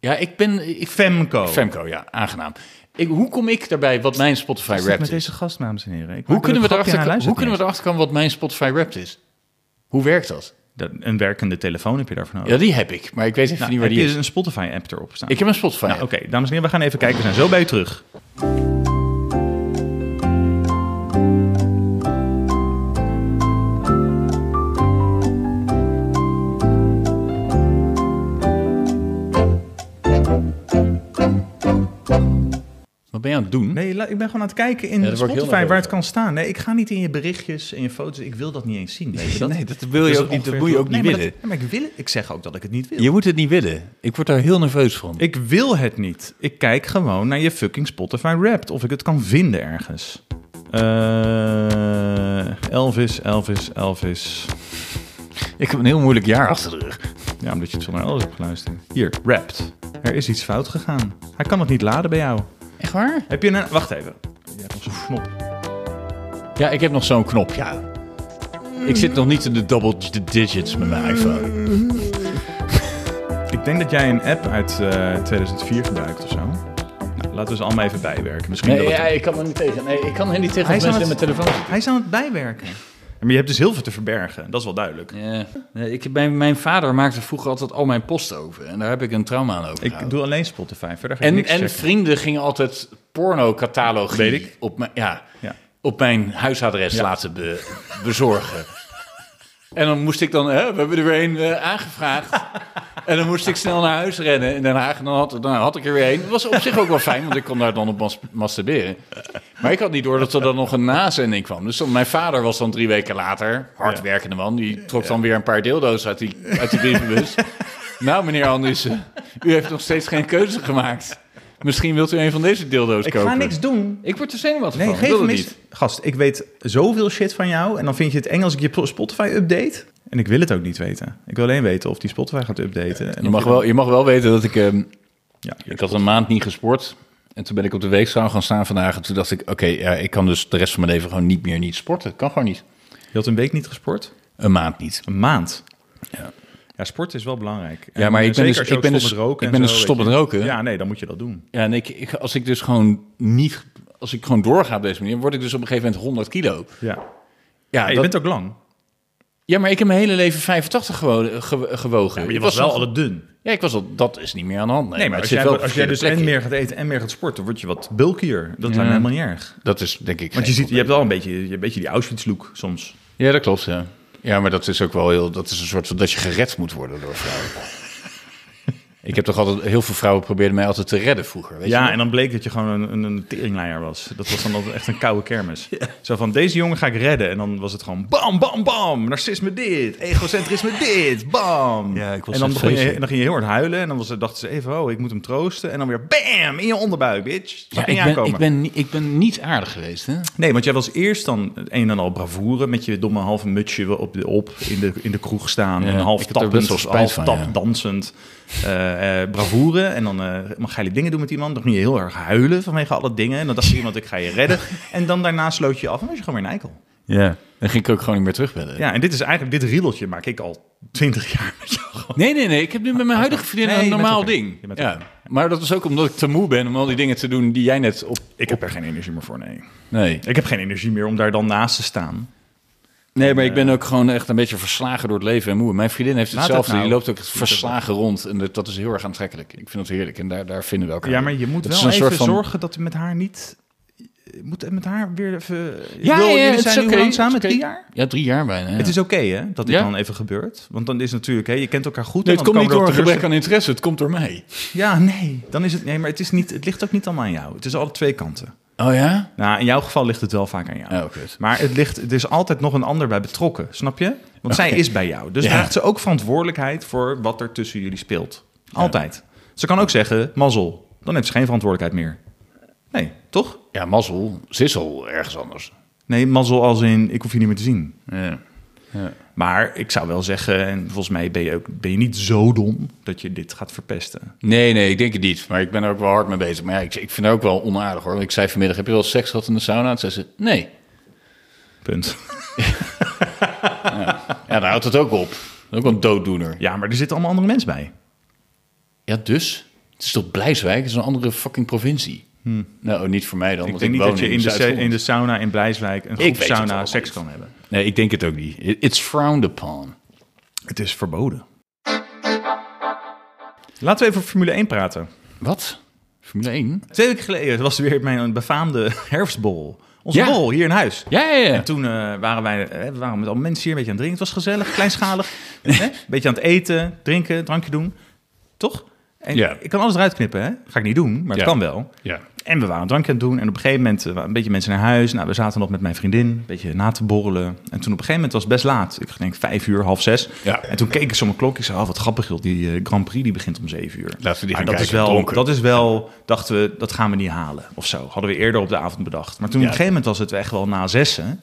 [SPEAKER 2] Ja, ik ben... Ik,
[SPEAKER 1] Femco.
[SPEAKER 2] Femco, ja, aangenaam. Ik, hoe kom ik daarbij wat mijn Spotify
[SPEAKER 1] Wat is dit
[SPEAKER 2] Wrapped
[SPEAKER 1] met
[SPEAKER 2] is?
[SPEAKER 1] deze gast, dames en heren? Ik
[SPEAKER 2] Hoe
[SPEAKER 1] maak
[SPEAKER 2] kunnen, we
[SPEAKER 1] er een grapje en hij
[SPEAKER 2] erachter, hoe
[SPEAKER 1] luistert
[SPEAKER 2] kunnen we
[SPEAKER 1] niet
[SPEAKER 2] erachter komen wat mijn Spotify Wrapped is? Hoe werkt dat?
[SPEAKER 1] eens. Dat- Een werkende telefoon heb je daarvoor nodig.
[SPEAKER 2] Ja, die heb dus- ik, maar ik weet even
[SPEAKER 1] Nou,
[SPEAKER 2] niet waar
[SPEAKER 1] heb
[SPEAKER 2] die
[SPEAKER 1] je
[SPEAKER 2] is.
[SPEAKER 1] een Spotify-app erop staan?
[SPEAKER 2] Ik heb een Spotify.
[SPEAKER 1] Nou, Oké, dames en heren, we gaan even kijken. We zijn zo bij u terug.
[SPEAKER 2] Wat ben je aan het doen?
[SPEAKER 1] Nee, la- ik ben gewoon aan het kijken in
[SPEAKER 2] Ja, daar word ik heel
[SPEAKER 1] Spotify waar
[SPEAKER 2] nerveus
[SPEAKER 1] het kan staan. Nee, ik ga niet in je berichtjes en je foto's. Ik wil dat niet eens zien.
[SPEAKER 2] (laughs)
[SPEAKER 1] Weet je dat?
[SPEAKER 2] Nee, dat wil je
[SPEAKER 1] is
[SPEAKER 2] ook niet- dat
[SPEAKER 1] ongeveer
[SPEAKER 2] moet je
[SPEAKER 1] hoe-
[SPEAKER 2] ook niet
[SPEAKER 1] Nee, maar
[SPEAKER 2] willen.
[SPEAKER 1] dat- nee, maar ik wil het- Ik zeg ook dat ik het niet wil.
[SPEAKER 2] Je moet het niet willen. Ik word daar heel nerveus van.
[SPEAKER 1] Ik wil het niet. Ik kijk gewoon naar je fucking Spotify Wrapped. Of ik het kan vinden ergens. Eh, Elvis, Elvis, Elvis.
[SPEAKER 2] Ik heb een heel moeilijk jaar achter de rug.
[SPEAKER 1] Ja, omdat je het zo naar Elvis hebt geluisterd. Hier, Wrapped. Er is iets fout gegaan. Hij kan het niet laden bij jou.
[SPEAKER 2] Echt waar?
[SPEAKER 1] Heb je een... Wacht even. Je hebt nog zo'n knop.
[SPEAKER 2] Ja, ik heb nog zo'n knop, ja. Ik zit nog niet in de double d- digits met mijn iPhone.
[SPEAKER 1] Ik denk dat jij een app uit eh, 2004 gebruikt of zo. Nou, laten we ze allemaal even bijwerken. Misschien
[SPEAKER 2] Nee,
[SPEAKER 1] dat het-
[SPEAKER 2] ja, ik kan er niet tegen. Nee, ik kan er niet tegen
[SPEAKER 1] Hij
[SPEAKER 2] als
[SPEAKER 1] is aan
[SPEAKER 2] mensen
[SPEAKER 1] het-
[SPEAKER 2] met mijn telefoon
[SPEAKER 1] Hij is aan het bijwerken. Maar je hebt dus heel veel te verbergen. Dat is wel duidelijk.
[SPEAKER 2] Ja, Nee, ik, mijn, mijn vader maakte vroeger altijd al mijn post over. En daar heb ik een trauma aan over.
[SPEAKER 1] Ik doe alleen Spotify. Verder ga ik
[SPEAKER 2] en
[SPEAKER 1] niks
[SPEAKER 2] en
[SPEAKER 1] checken.
[SPEAKER 2] vrienden gingen altijd porno-catalogie
[SPEAKER 1] Weet ik.
[SPEAKER 2] op mijn... Ja.
[SPEAKER 1] Ja.
[SPEAKER 2] op mijn huisadres laten be- bezorgen. En dan moest ik dan, hè, we hebben er weer een eh, aangevraagd. En dan moest ik snel naar huis rennen in Den Haag. En dan had, dan had ik er weer een. Dat was op zich ook wel fijn, want ik kon daar dan op mas- masturberen. Maar ik had niet door dat er dan nog een nazending kwam. Dus dan, mijn vader was dan drie weken later, hardwerkende man. Die trok dan weer een paar deeldoos uit die, uit die
[SPEAKER 1] (laughs)
[SPEAKER 2] brievenbus. nou, meneer Andersen, u heeft nog steeds geen keuze gemaakt. Misschien wilt u een van deze deeldoos
[SPEAKER 1] Ik
[SPEAKER 2] kopen.
[SPEAKER 1] ga niks doen.
[SPEAKER 2] Ik word er zenuwachtig
[SPEAKER 1] Nee,
[SPEAKER 2] van.
[SPEAKER 1] geef
[SPEAKER 2] Wil
[SPEAKER 1] hem
[SPEAKER 2] dat
[SPEAKER 1] niet. Gast, ik weet zoveel shit van jou. En dan vind je het eng als ik je Spotify update. En ik wil het ook niet weten. Ik wil alleen weten of die Spotify gaat updaten. En
[SPEAKER 2] Je
[SPEAKER 1] of
[SPEAKER 2] mag, wel, je mag wel weten dat ik... ehm,
[SPEAKER 1] Ja.
[SPEAKER 2] ik had een maand niet gesport. En toen ben ik op de weegschaal gaan staan vandaag. En toen dacht ik, oké, ja, ik kan dus de rest van mijn leven gewoon niet meer niet sporten. Het kan gewoon niet.
[SPEAKER 1] Je had een week niet gesport?
[SPEAKER 2] Een maand niet.
[SPEAKER 1] Een maand.
[SPEAKER 2] Ja.
[SPEAKER 1] Ja, sport is wel belangrijk.
[SPEAKER 2] Ja,
[SPEAKER 1] En eh,
[SPEAKER 2] maar ik ben
[SPEAKER 1] zeker
[SPEAKER 2] dus-
[SPEAKER 1] als je
[SPEAKER 2] ik
[SPEAKER 1] ook
[SPEAKER 2] ben
[SPEAKER 1] stopt
[SPEAKER 2] dus-
[SPEAKER 1] met roken
[SPEAKER 2] ik
[SPEAKER 1] en
[SPEAKER 2] ben
[SPEAKER 1] zo,
[SPEAKER 2] dus
[SPEAKER 1] weet
[SPEAKER 2] gestopt
[SPEAKER 1] je.
[SPEAKER 2] met roken.
[SPEAKER 1] Ja, nee, dan moet je dat doen.
[SPEAKER 2] Ja, en ik, ik- als ik dus gewoon niet... Als ik gewoon doorga op deze manier, word ik dus op een gegeven moment 100 kilo.
[SPEAKER 1] Ja.
[SPEAKER 2] Ja,
[SPEAKER 1] Ja, je
[SPEAKER 2] dat-
[SPEAKER 1] bent ook lang.
[SPEAKER 2] ja maar ik heb mijn hele leven 85 gewo- ge- gewogen.
[SPEAKER 1] Maar je
[SPEAKER 2] Ik
[SPEAKER 1] was wel
[SPEAKER 2] nog-
[SPEAKER 1] alle dun.
[SPEAKER 2] Ja, ik was al... Dat is niet meer aan de hand. Nee,
[SPEAKER 1] Nee,
[SPEAKER 2] maar
[SPEAKER 1] maar
[SPEAKER 2] het
[SPEAKER 1] als jij,
[SPEAKER 2] zit wel op
[SPEAKER 1] als jij dus
[SPEAKER 2] verkeerde
[SPEAKER 1] en
[SPEAKER 2] plekken.
[SPEAKER 1] meer gaat eten en meer gaat sporten, word je wat bulkier. Dat
[SPEAKER 2] Ja.
[SPEAKER 1] lijkt me helemaal niet erg.
[SPEAKER 2] Dat is denk ik...
[SPEAKER 1] Want je, ziet,
[SPEAKER 2] geen
[SPEAKER 1] je
[SPEAKER 2] probleem.
[SPEAKER 1] hebt wel een beetje, je hebt een beetje die Auschwitz-look soms.
[SPEAKER 2] Ja, dat klopt, ja. Ja, maar dat is ook wel heel... Dat is een soort van... Dat je gered moet worden door vrouwen.
[SPEAKER 1] (laughs)
[SPEAKER 2] ik heb toch altijd... Heel veel vrouwen probeerden mij altijd te redden vroeger, weet je
[SPEAKER 1] Ja,
[SPEAKER 2] wel?
[SPEAKER 1] en dan bleek dat je gewoon een, een, een teringleier was. Dat was dan altijd echt een koude
[SPEAKER 2] (laughs)
[SPEAKER 1] kermis. Zo van, deze jongen ga ik redden. En dan was het gewoon bam, bam, bam. Narcisme dit, egocentrisme dit, bam.
[SPEAKER 2] Ja, ik was
[SPEAKER 1] en dan, begon
[SPEAKER 2] echt
[SPEAKER 1] je,
[SPEAKER 2] vreselijk.
[SPEAKER 1] en dan ging je heel hard huilen. En dan was, dachten ze even, oh, ik moet hem troosten. En dan weer bam, in je onderbuik, bitch. Dat
[SPEAKER 2] Ja,
[SPEAKER 1] ging
[SPEAKER 2] ik, ben,
[SPEAKER 1] aankomen.
[SPEAKER 2] ik, ben, niet- ik ben niet aardig geweest, hè?
[SPEAKER 1] Nee, want jij was eerst dan het een en al bravoure met je domme halve mutsje op, de, op in, de, in de kroeg staan.
[SPEAKER 2] Ja,
[SPEAKER 1] en half
[SPEAKER 2] ik heb er
[SPEAKER 1] tappend,
[SPEAKER 2] best wel spijt
[SPEAKER 1] half
[SPEAKER 2] van,
[SPEAKER 1] tap
[SPEAKER 2] ja.
[SPEAKER 1] dansend eh, eh, bravoure. En dan eh mag geile dingen doen met iemand. Dan ging je heel erg huilen vanwege alle dingen. En dan dacht je iemand, ik ga je
[SPEAKER 2] (laughs)
[SPEAKER 1] redden. En dan daarna sloot je af en was je gewoon weer een eikel.
[SPEAKER 2] Ja. Dan ging ik ook gewoon niet meer terugbellen.
[SPEAKER 1] Ja, en dit is eigenlijk, dit rieltje maak ik al twintig jaar met jou. gewoon.
[SPEAKER 2] Nee, nee, Oh, nee. Ik heb nu met mijn huidige vriendin
[SPEAKER 1] Nee,
[SPEAKER 2] een
[SPEAKER 1] je bent
[SPEAKER 2] normaal
[SPEAKER 1] oké.
[SPEAKER 2] ding.
[SPEAKER 1] Je bent
[SPEAKER 2] Ja.
[SPEAKER 1] oké.
[SPEAKER 2] Maar dat is ook omdat ik te moe ben om al die dingen te doen die jij net op...
[SPEAKER 1] Ik heb er geen energie meer voor, nee.
[SPEAKER 2] Nee.
[SPEAKER 1] Ik heb geen energie meer om daar dan naast te staan.
[SPEAKER 2] Nee, maar ik ben ook gewoon echt een beetje verslagen door het leven en moe. Mijn vriendin heeft
[SPEAKER 1] Laat het
[SPEAKER 2] hetzelfde.
[SPEAKER 1] nou.
[SPEAKER 2] Die loopt ook verslagen rond. En dat, dat is heel erg aantrekkelijk. Ik vind dat heerlijk. En daar, daar vinden we elkaar.
[SPEAKER 1] Ja, maar je moet
[SPEAKER 2] Dat
[SPEAKER 1] wel
[SPEAKER 2] is
[SPEAKER 1] even
[SPEAKER 2] een soort van-
[SPEAKER 1] zorgen dat met haar niet... Je moet met haar weer even... Ik
[SPEAKER 2] Ja,
[SPEAKER 1] wil-
[SPEAKER 2] ja,
[SPEAKER 1] jullie
[SPEAKER 2] het
[SPEAKER 1] zijn
[SPEAKER 2] is
[SPEAKER 1] nu
[SPEAKER 2] oké,
[SPEAKER 1] hoe lang
[SPEAKER 2] het
[SPEAKER 1] samen?
[SPEAKER 2] is oké.
[SPEAKER 1] Drie jaar?
[SPEAKER 2] Ja, drie jaar bijna. ja.
[SPEAKER 1] Het is oké hè, dat dit
[SPEAKER 2] Ja.
[SPEAKER 1] dan even gebeurt. Want dan is natuurlijk, hè, je kent elkaar goed.
[SPEAKER 2] Nee,
[SPEAKER 1] en
[SPEAKER 2] het
[SPEAKER 1] dan
[SPEAKER 2] komt niet
[SPEAKER 1] komen
[SPEAKER 2] door
[SPEAKER 1] er
[SPEAKER 2] een gebrek
[SPEAKER 1] teleurstellingen-
[SPEAKER 2] aan interesse. Het komt door mij.
[SPEAKER 1] Ja, nee. Dan is het, nee, maar het, is niet, het ligt ook niet allemaal aan jou. Het is alle twee kanten.
[SPEAKER 2] Oh ja?
[SPEAKER 1] Nou, in jouw geval ligt het wel vaak aan jou.
[SPEAKER 2] Oh, kut.
[SPEAKER 1] Maar het ligt, er is altijd nog een ander bij betrokken, snap je? Want zij
[SPEAKER 2] Oké.
[SPEAKER 1] is bij jou. Dus
[SPEAKER 2] Ja.
[SPEAKER 1] draagt ze ook verantwoordelijkheid voor wat er tussen jullie speelt. Altijd. Ze kan ook zeggen, mazzel. Dan heeft ze geen verantwoordelijkheid meer. Nee, toch?
[SPEAKER 2] Ja, mazzel. Ze is al ergens anders.
[SPEAKER 1] Nee, mazzel als in, ik hoef je niet meer te zien.
[SPEAKER 2] Ja.
[SPEAKER 1] Maar ik zou wel zeggen, en volgens mij ben je, ook, ben je niet zo dom dat je dit gaat verpesten.
[SPEAKER 2] Nee, nee, ik denk het niet. Maar ik ben er ook wel hard mee bezig. Maar ja, ik, ik vind het ook wel onaardig hoor. Want Ik zei vanmiddag, heb je wel seks gehad in de sauna? Toen zei ze, nee. (laughs)
[SPEAKER 1] Punt.
[SPEAKER 2] Ja, daar houdt het ook op. Ook een dooddoener.
[SPEAKER 1] Ja, maar er zitten allemaal andere mensen bij.
[SPEAKER 2] Ja, dus? Het is toch Blijswijk? Het is een andere fucking provincie. Nou, niet voor mij dan.
[SPEAKER 1] Hmm. ik
[SPEAKER 2] want
[SPEAKER 1] denk niet
[SPEAKER 2] woon
[SPEAKER 1] dat je in de, sa- in de sauna in Blijswijk een groep
[SPEAKER 2] weet het
[SPEAKER 1] sauna
[SPEAKER 2] allemaal
[SPEAKER 1] seks
[SPEAKER 2] niet.
[SPEAKER 1] kan hebben.
[SPEAKER 2] Zuid-Holland. Nee, ik denk het ook niet. It- It's frowned upon.
[SPEAKER 1] Het is verboden. Laten we even over Formule 1 praten.
[SPEAKER 2] Wat? Formule 1?
[SPEAKER 1] Twee weken geleden was er weer mijn befaamde herfstbol. Onze
[SPEAKER 2] Ja.
[SPEAKER 1] bol hier in huis.
[SPEAKER 2] Ja, ja, ja.
[SPEAKER 1] En toen eh, waren wij eh, we waren met al mensen hier een beetje aan het drinken. Het was gezellig, kleinschalig.
[SPEAKER 2] (laughs)
[SPEAKER 1] Een beetje aan het eten, drinken, drankje doen. Toch? En
[SPEAKER 2] Ja.
[SPEAKER 1] Ik kan alles eruit knippen, hè? Ga ik niet doen, maar het
[SPEAKER 2] Ja.
[SPEAKER 1] kan wel.
[SPEAKER 2] ja.
[SPEAKER 1] En we waren een drankje aan het doen. En op een gegeven moment eh, waren een beetje mensen naar huis. Nou, we zaten nog met mijn vriendin. Een beetje na te borrelen. En toen op een gegeven moment was het best laat. Ik denk vijf uur, half zes.
[SPEAKER 2] Ja.
[SPEAKER 1] En toen keek ik zo mijn klok. Ik zei, oh, wat grappig joh. Die eh, Grand Prix die begint om zeven uur.
[SPEAKER 2] Laten we die
[SPEAKER 1] Maar
[SPEAKER 2] gaan
[SPEAKER 1] dat is
[SPEAKER 2] kijken,
[SPEAKER 1] wel,
[SPEAKER 2] dronken.
[SPEAKER 1] Dat is wel, dachten we, dat gaan we niet halen. Of zo. Hadden we eerder op de avond bedacht. Maar toen
[SPEAKER 2] Ja.
[SPEAKER 1] op een gegeven moment was het echt wel na zessen.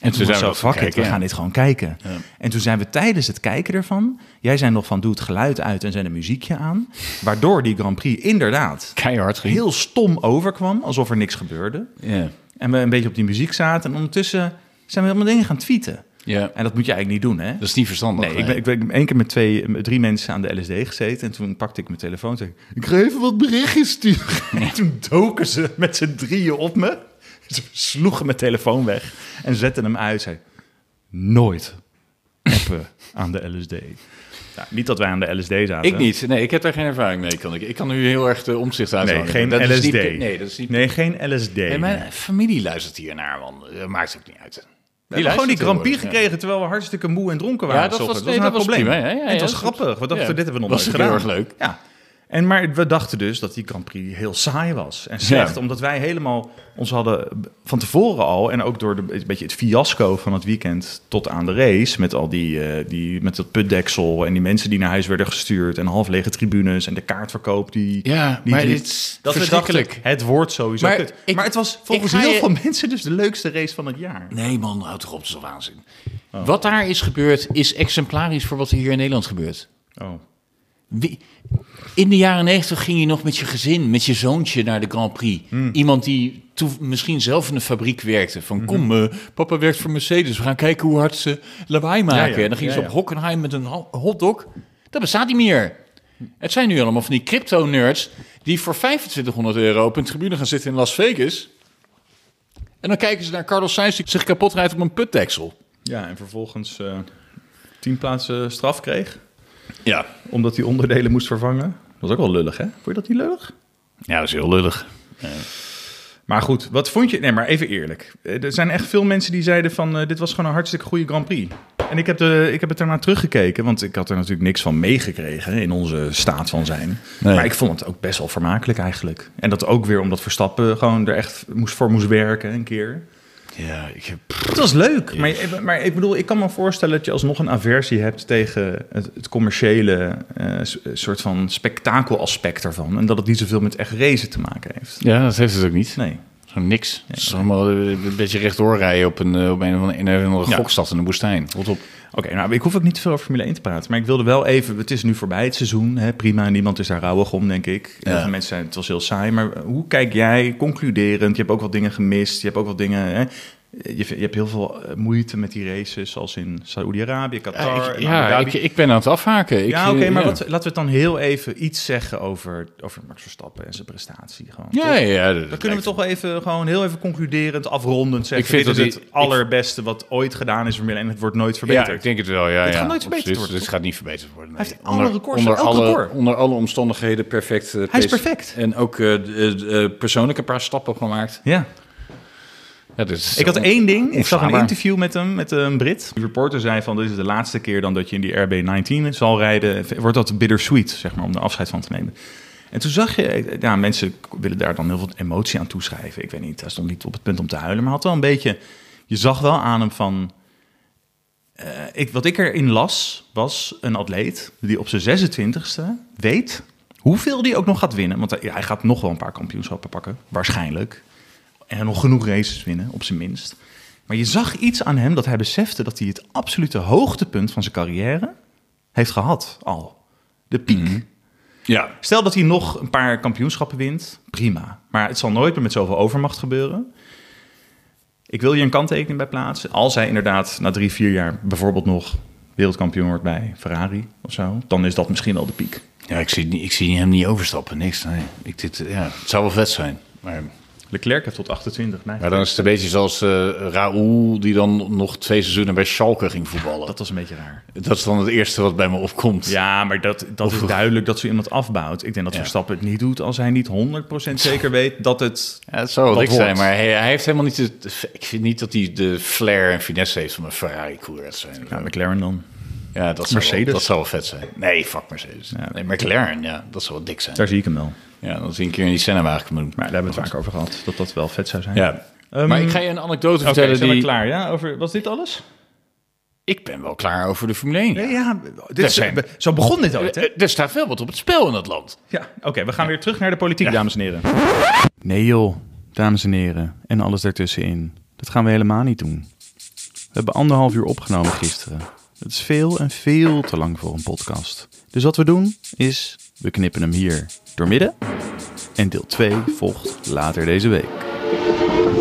[SPEAKER 1] En toen,
[SPEAKER 2] zijn
[SPEAKER 1] was
[SPEAKER 2] we
[SPEAKER 1] zo,
[SPEAKER 2] dat gaan
[SPEAKER 1] fuck it,
[SPEAKER 2] kijken,
[SPEAKER 1] we
[SPEAKER 2] ja.
[SPEAKER 1] gaan dit gewoon kijken. En toen zijn we tijdens het kijken ervan... Jij zei nog van, doe het geluid uit en zet een muziekje aan. Waardoor die Grand Prix inderdaad
[SPEAKER 2] Keihard ging.
[SPEAKER 1] heel stom overkwam, alsof er niks gebeurde.
[SPEAKER 2] Ja.
[SPEAKER 1] En we een beetje op die muziek zaten. En ondertussen zijn we helemaal dingen gaan tweeten.
[SPEAKER 2] ja.
[SPEAKER 1] En dat moet je eigenlijk niet doen, hè?
[SPEAKER 2] Dat is niet verstandig.
[SPEAKER 1] Nee, ik ben, ik ben één keer met twee, met drie mensen aan de LSD gezeten. En toen pakte ik mijn telefoon en zei ik... Ik ga even wat berichtjes
[SPEAKER 2] (laughs)
[SPEAKER 1] sturen. En toen doken ze met z'n drieën op me. Ze sloegen mijn telefoon weg en zetten hem uit. Zei, nooit appen aan de LSD. Ja, Nou, niet dat wij aan de LSD zaten.
[SPEAKER 2] Ik niet. Nee, ik heb daar geen ervaring mee. Kan ik. ik kan nu heel erg de omzicht uit.
[SPEAKER 1] Nee, geen
[SPEAKER 2] dat Is
[SPEAKER 1] LSD.
[SPEAKER 2] niet, nee, dat is niet.
[SPEAKER 1] Nee, geen LSD.
[SPEAKER 2] Nee, mijn familie luistert hier naar, man. Dat maakt ook niet uit. Die
[SPEAKER 1] we hebben gewoon die
[SPEAKER 2] luistert
[SPEAKER 1] Grand Prix
[SPEAKER 2] tegenwoordig, ja.
[SPEAKER 1] gekregen terwijl we hartstikke moe en dronken
[SPEAKER 2] Ja,
[SPEAKER 1] waren.
[SPEAKER 2] dat
[SPEAKER 1] s ochtends.
[SPEAKER 2] was- nee,
[SPEAKER 1] nou
[SPEAKER 2] dat was
[SPEAKER 1] het probleem.
[SPEAKER 2] prima, ja, ja,
[SPEAKER 1] En het
[SPEAKER 2] ja,
[SPEAKER 1] was
[SPEAKER 2] dat
[SPEAKER 1] grappig. We dachten,
[SPEAKER 2] Ja.
[SPEAKER 1] dit hebben we nog
[SPEAKER 2] Was
[SPEAKER 1] nooit
[SPEAKER 2] ook
[SPEAKER 1] gedaan.
[SPEAKER 2] heel erg leuk.
[SPEAKER 1] Ja. En, maar we dachten dus dat die Grand Prix heel saai was en slecht.
[SPEAKER 2] Ja.
[SPEAKER 1] Omdat wij helemaal ons hadden van tevoren al... en ook door de, een beetje het fiasco van het weekend tot aan de race... met al die, eh, die met dat putdeksel en die mensen die naar huis werden gestuurd... en half lege tribunes en de kaartverkoop die...
[SPEAKER 2] Ja,
[SPEAKER 1] die
[SPEAKER 2] maar
[SPEAKER 1] drie-
[SPEAKER 2] dit is
[SPEAKER 1] dat we dachten,
[SPEAKER 2] verschrikkelijk.
[SPEAKER 1] het wordt sowieso
[SPEAKER 2] Maar
[SPEAKER 1] maar kut.
[SPEAKER 2] ik-
[SPEAKER 1] maar het was volgens
[SPEAKER 2] ik ga
[SPEAKER 1] heel
[SPEAKER 2] je-
[SPEAKER 1] veel mensen dus de leukste race van het jaar.
[SPEAKER 2] Nee, man, houd toch op, dat is wel waanzin. Wat daar is gebeurd, is exemplarisch voor wat er hier in Nederland gebeurt.
[SPEAKER 1] Oh.
[SPEAKER 2] Wie- in de jaren negentig ging je nog met je gezin, met je zoontje naar de Grand Prix.
[SPEAKER 1] Hmm.
[SPEAKER 2] Iemand die toe, misschien zelf in een fabriek werkte.
[SPEAKER 1] Mhm.
[SPEAKER 2] Van kom, eh, papa werkt voor Mercedes. We gaan kijken hoe hard ze lawaai maken.
[SPEAKER 1] Ja, ja.
[SPEAKER 2] En dan gingen
[SPEAKER 1] Ja,
[SPEAKER 2] ze
[SPEAKER 1] ja.
[SPEAKER 2] op Hockenheim met een ho- hotdog. Dat bestaat niet meer. Het zijn nu allemaal van die crypto-nerds... die voor 2500 euro op een tribune gaan zitten in Las Vegas. En dan kijken ze naar Carlos Sainz die zich kapot rijdt op een putdeksel.
[SPEAKER 1] Ja, en vervolgens eh tien plaatsen straf kreeg.
[SPEAKER 2] Ja.
[SPEAKER 1] Omdat hij onderdelen moest vervangen. Dat was ook wel lullig, hè? Vond je dat niet lullig?
[SPEAKER 2] ja, dat is heel lullig.
[SPEAKER 1] Maar goed, wat vond je... Nee, maar even eerlijk. Eh, Er zijn echt veel mensen die zeiden van... eh, dit was gewoon een hartstikke goede Grand Prix. En ik heb, de, ik heb het daarna teruggekeken. Want ik had er natuurlijk niks van meegekregen in onze staat van zijn.
[SPEAKER 2] Nee.
[SPEAKER 1] Maar ik vond het ook best wel vermakelijk eigenlijk. En dat ook weer omdat Verstappen gewoon er echt moest, voor moest werken een keer.
[SPEAKER 2] Ja, ik heb...
[SPEAKER 1] Het was leuk, maar, eh, maar ik bedoel, ik kan me voorstellen dat je alsnog een aversie hebt tegen het, het commerciële eh, s- soort van spektakelaspect ervan. En dat het niet zoveel met echt racen te maken heeft.
[SPEAKER 2] Ja, dat heeft het ook niet.
[SPEAKER 1] Nee.
[SPEAKER 2] Zo niks. Het is allemaal eh, een beetje rechtdoor rijden op een, eh, op een, of andere- in een of andere
[SPEAKER 1] Ja.
[SPEAKER 2] gokstad in de woestijn. Rot op.
[SPEAKER 1] Oké, nou, ik hoef ook niet te veel over Formule 1 te praten. Maar ik wilde wel even, het is nu voorbij het seizoen. Hè, prima, niemand is daar rouwig om, denk ik.
[SPEAKER 2] Ja.
[SPEAKER 1] Heel veel mensen zijn, het was heel saai. Maar eh, hoe kijk jij, concluderend, je hebt ook wat dingen gemist. Je hebt ook wat dingen... Hè, je, je hebt heel veel eh, moeite met die races, zoals in Saoedi-Arabië, Qatar.
[SPEAKER 2] Ja, Eh, ik,
[SPEAKER 1] en Abu
[SPEAKER 2] ja,
[SPEAKER 1] Dhabi.
[SPEAKER 2] ik, ik ben aan het afhaken. Ik,
[SPEAKER 1] ja, oké,
[SPEAKER 2] eh,
[SPEAKER 1] maar
[SPEAKER 2] ja.
[SPEAKER 1] Wat, laten we het dan heel even iets zeggen over, over Max Verstappen en zijn prestatie. Gewoon,
[SPEAKER 2] Ja,
[SPEAKER 1] toch?
[SPEAKER 2] ja, ja, dat
[SPEAKER 1] Dan kunnen we
[SPEAKER 2] lijkt-
[SPEAKER 1] toch wel even, gewoon heel even concluderend, afrondend zeggen.
[SPEAKER 2] Ik
[SPEAKER 1] dit
[SPEAKER 2] vind dat
[SPEAKER 1] is
[SPEAKER 2] die-
[SPEAKER 1] het allerbeste wat ooit gedaan is voor Milan en het wordt nooit verbeterd.
[SPEAKER 2] Ja, ik denk het wel. Ja,
[SPEAKER 1] Dit
[SPEAKER 2] ja,
[SPEAKER 1] gaat nooit verbeterd
[SPEAKER 2] absoluut.
[SPEAKER 1] worden,
[SPEAKER 2] Dit
[SPEAKER 1] toch?
[SPEAKER 2] gaat niet verbeterd worden.
[SPEAKER 1] Hij
[SPEAKER 2] nee.
[SPEAKER 1] heeft alle records, elk
[SPEAKER 2] alle,
[SPEAKER 1] record.
[SPEAKER 2] onder alle omstandigheden perfect. eh,
[SPEAKER 1] Hij is
[SPEAKER 2] pace.
[SPEAKER 1] perfect.
[SPEAKER 2] En ook eh, de- de persoonlijk een paar stappen gemaakt.
[SPEAKER 1] Ja.
[SPEAKER 2] Ja, dit is
[SPEAKER 1] Ik had
[SPEAKER 2] on-
[SPEAKER 1] één ding. Ik zag een
[SPEAKER 2] onverslaanbaar.
[SPEAKER 1] interview met hem, met eh, een Brit. Die reporter zei van, dit is de laatste keer dan dat je in die RB19 zal rijden. Wordt dat bittersweet, zeg maar, om er afscheid van te nemen. En toen zag je, ja, mensen willen daar dan heel veel emotie aan toeschrijven. Ik weet niet, hij stond niet op het punt om te huilen, maar had wel een beetje... Je zag wel aan hem van... eh, ik, wat ik erin las, was een atleet die op zijn 26e weet hoeveel die ook nog gaat winnen. Want hij, hij gaat nog wel een paar kampioenschappen pakken, waarschijnlijk. En nog genoeg races winnen, op zijn minst. Maar je zag iets aan hem dat hij besefte dat hij het absolute hoogtepunt van zijn carrière heeft gehad al. De piek.
[SPEAKER 2] Ja,
[SPEAKER 1] Stel dat hij nog een paar kampioenschappen wint, prima. Maar het zal nooit meer met zoveel overmacht gebeuren. Ik wil hier een kanttekening bij plaatsen. Als hij inderdaad na drie, vier jaar bijvoorbeeld nog wereldkampioen wordt bij Ferrari of zo, dan is dat misschien al de piek.
[SPEAKER 2] ja ik, zie, niet- ik zie hem niet overstappen. Niks. Nee. Ik, dit, eh, ja, het zou wel vet zijn. Maar
[SPEAKER 1] Leclerc heeft tot 28. Nee,
[SPEAKER 2] Maar dan is het een beetje zoals eh Raoul, die dan nog twee seizoenen bij Schalke ging voetballen.
[SPEAKER 1] dat
[SPEAKER 2] Dat,
[SPEAKER 1] was een beetje raar.
[SPEAKER 2] is dan het eerste wat bij me opkomt.
[SPEAKER 1] Ja, maar dat, dat is duidelijk dat ze iemand afbouwt. Ik denk dat
[SPEAKER 2] Ja.
[SPEAKER 1] Verstappen het niet doet als hij niet 100% zeker weet dat het...
[SPEAKER 2] Ja, het zou wel
[SPEAKER 1] Dat
[SPEAKER 2] dik zijn,
[SPEAKER 1] wordt.
[SPEAKER 2] maar hij, hij heeft helemaal niet de, de- Ik vind niet dat hij de flair en finesse heeft van een Ferrari-coureur zijn.
[SPEAKER 1] Ja, McLaren dan.
[SPEAKER 2] Ja, dat zou,
[SPEAKER 1] Mercedes.
[SPEAKER 2] Wel, dat zou wel vet zijn. Nee, fuck Mercedes. Nee, McLaren, ja, dat zou wel dik zijn.
[SPEAKER 1] Daar zie ik hem wel.
[SPEAKER 2] Ja, dan zie ik een keer in die Senna-wagen moeten.
[SPEAKER 1] Maar daar hebben we het vaak over gehad, dat dat wel vet zou zijn.
[SPEAKER 2] Ja.
[SPEAKER 1] Ehm,
[SPEAKER 2] maar ik ga je een anekdote
[SPEAKER 1] Oké,
[SPEAKER 2] vertellen
[SPEAKER 1] zijn
[SPEAKER 2] die...
[SPEAKER 1] we klaar. Ja? Over, was dit alles?
[SPEAKER 2] Ik ben wel klaar over de Formule 1.
[SPEAKER 1] Ja, dit
[SPEAKER 2] Daar
[SPEAKER 1] is,
[SPEAKER 2] zijn we.
[SPEAKER 1] zo begon dit ooit, hè?
[SPEAKER 2] Eh, Er staat wel wat op het spel in dat land.
[SPEAKER 1] Ja, oké, we gaan weer terug naar de politiek, dames en heren. Nee joh, dames en heren, en alles daartussenin. Dat gaan we helemaal niet doen. We hebben anderhalf uur opgenomen gisteren. Dat is veel en veel te lang voor een podcast. Dus wat we doen is, we knippen hem hier doormidden. En deel 2 volgt later deze week.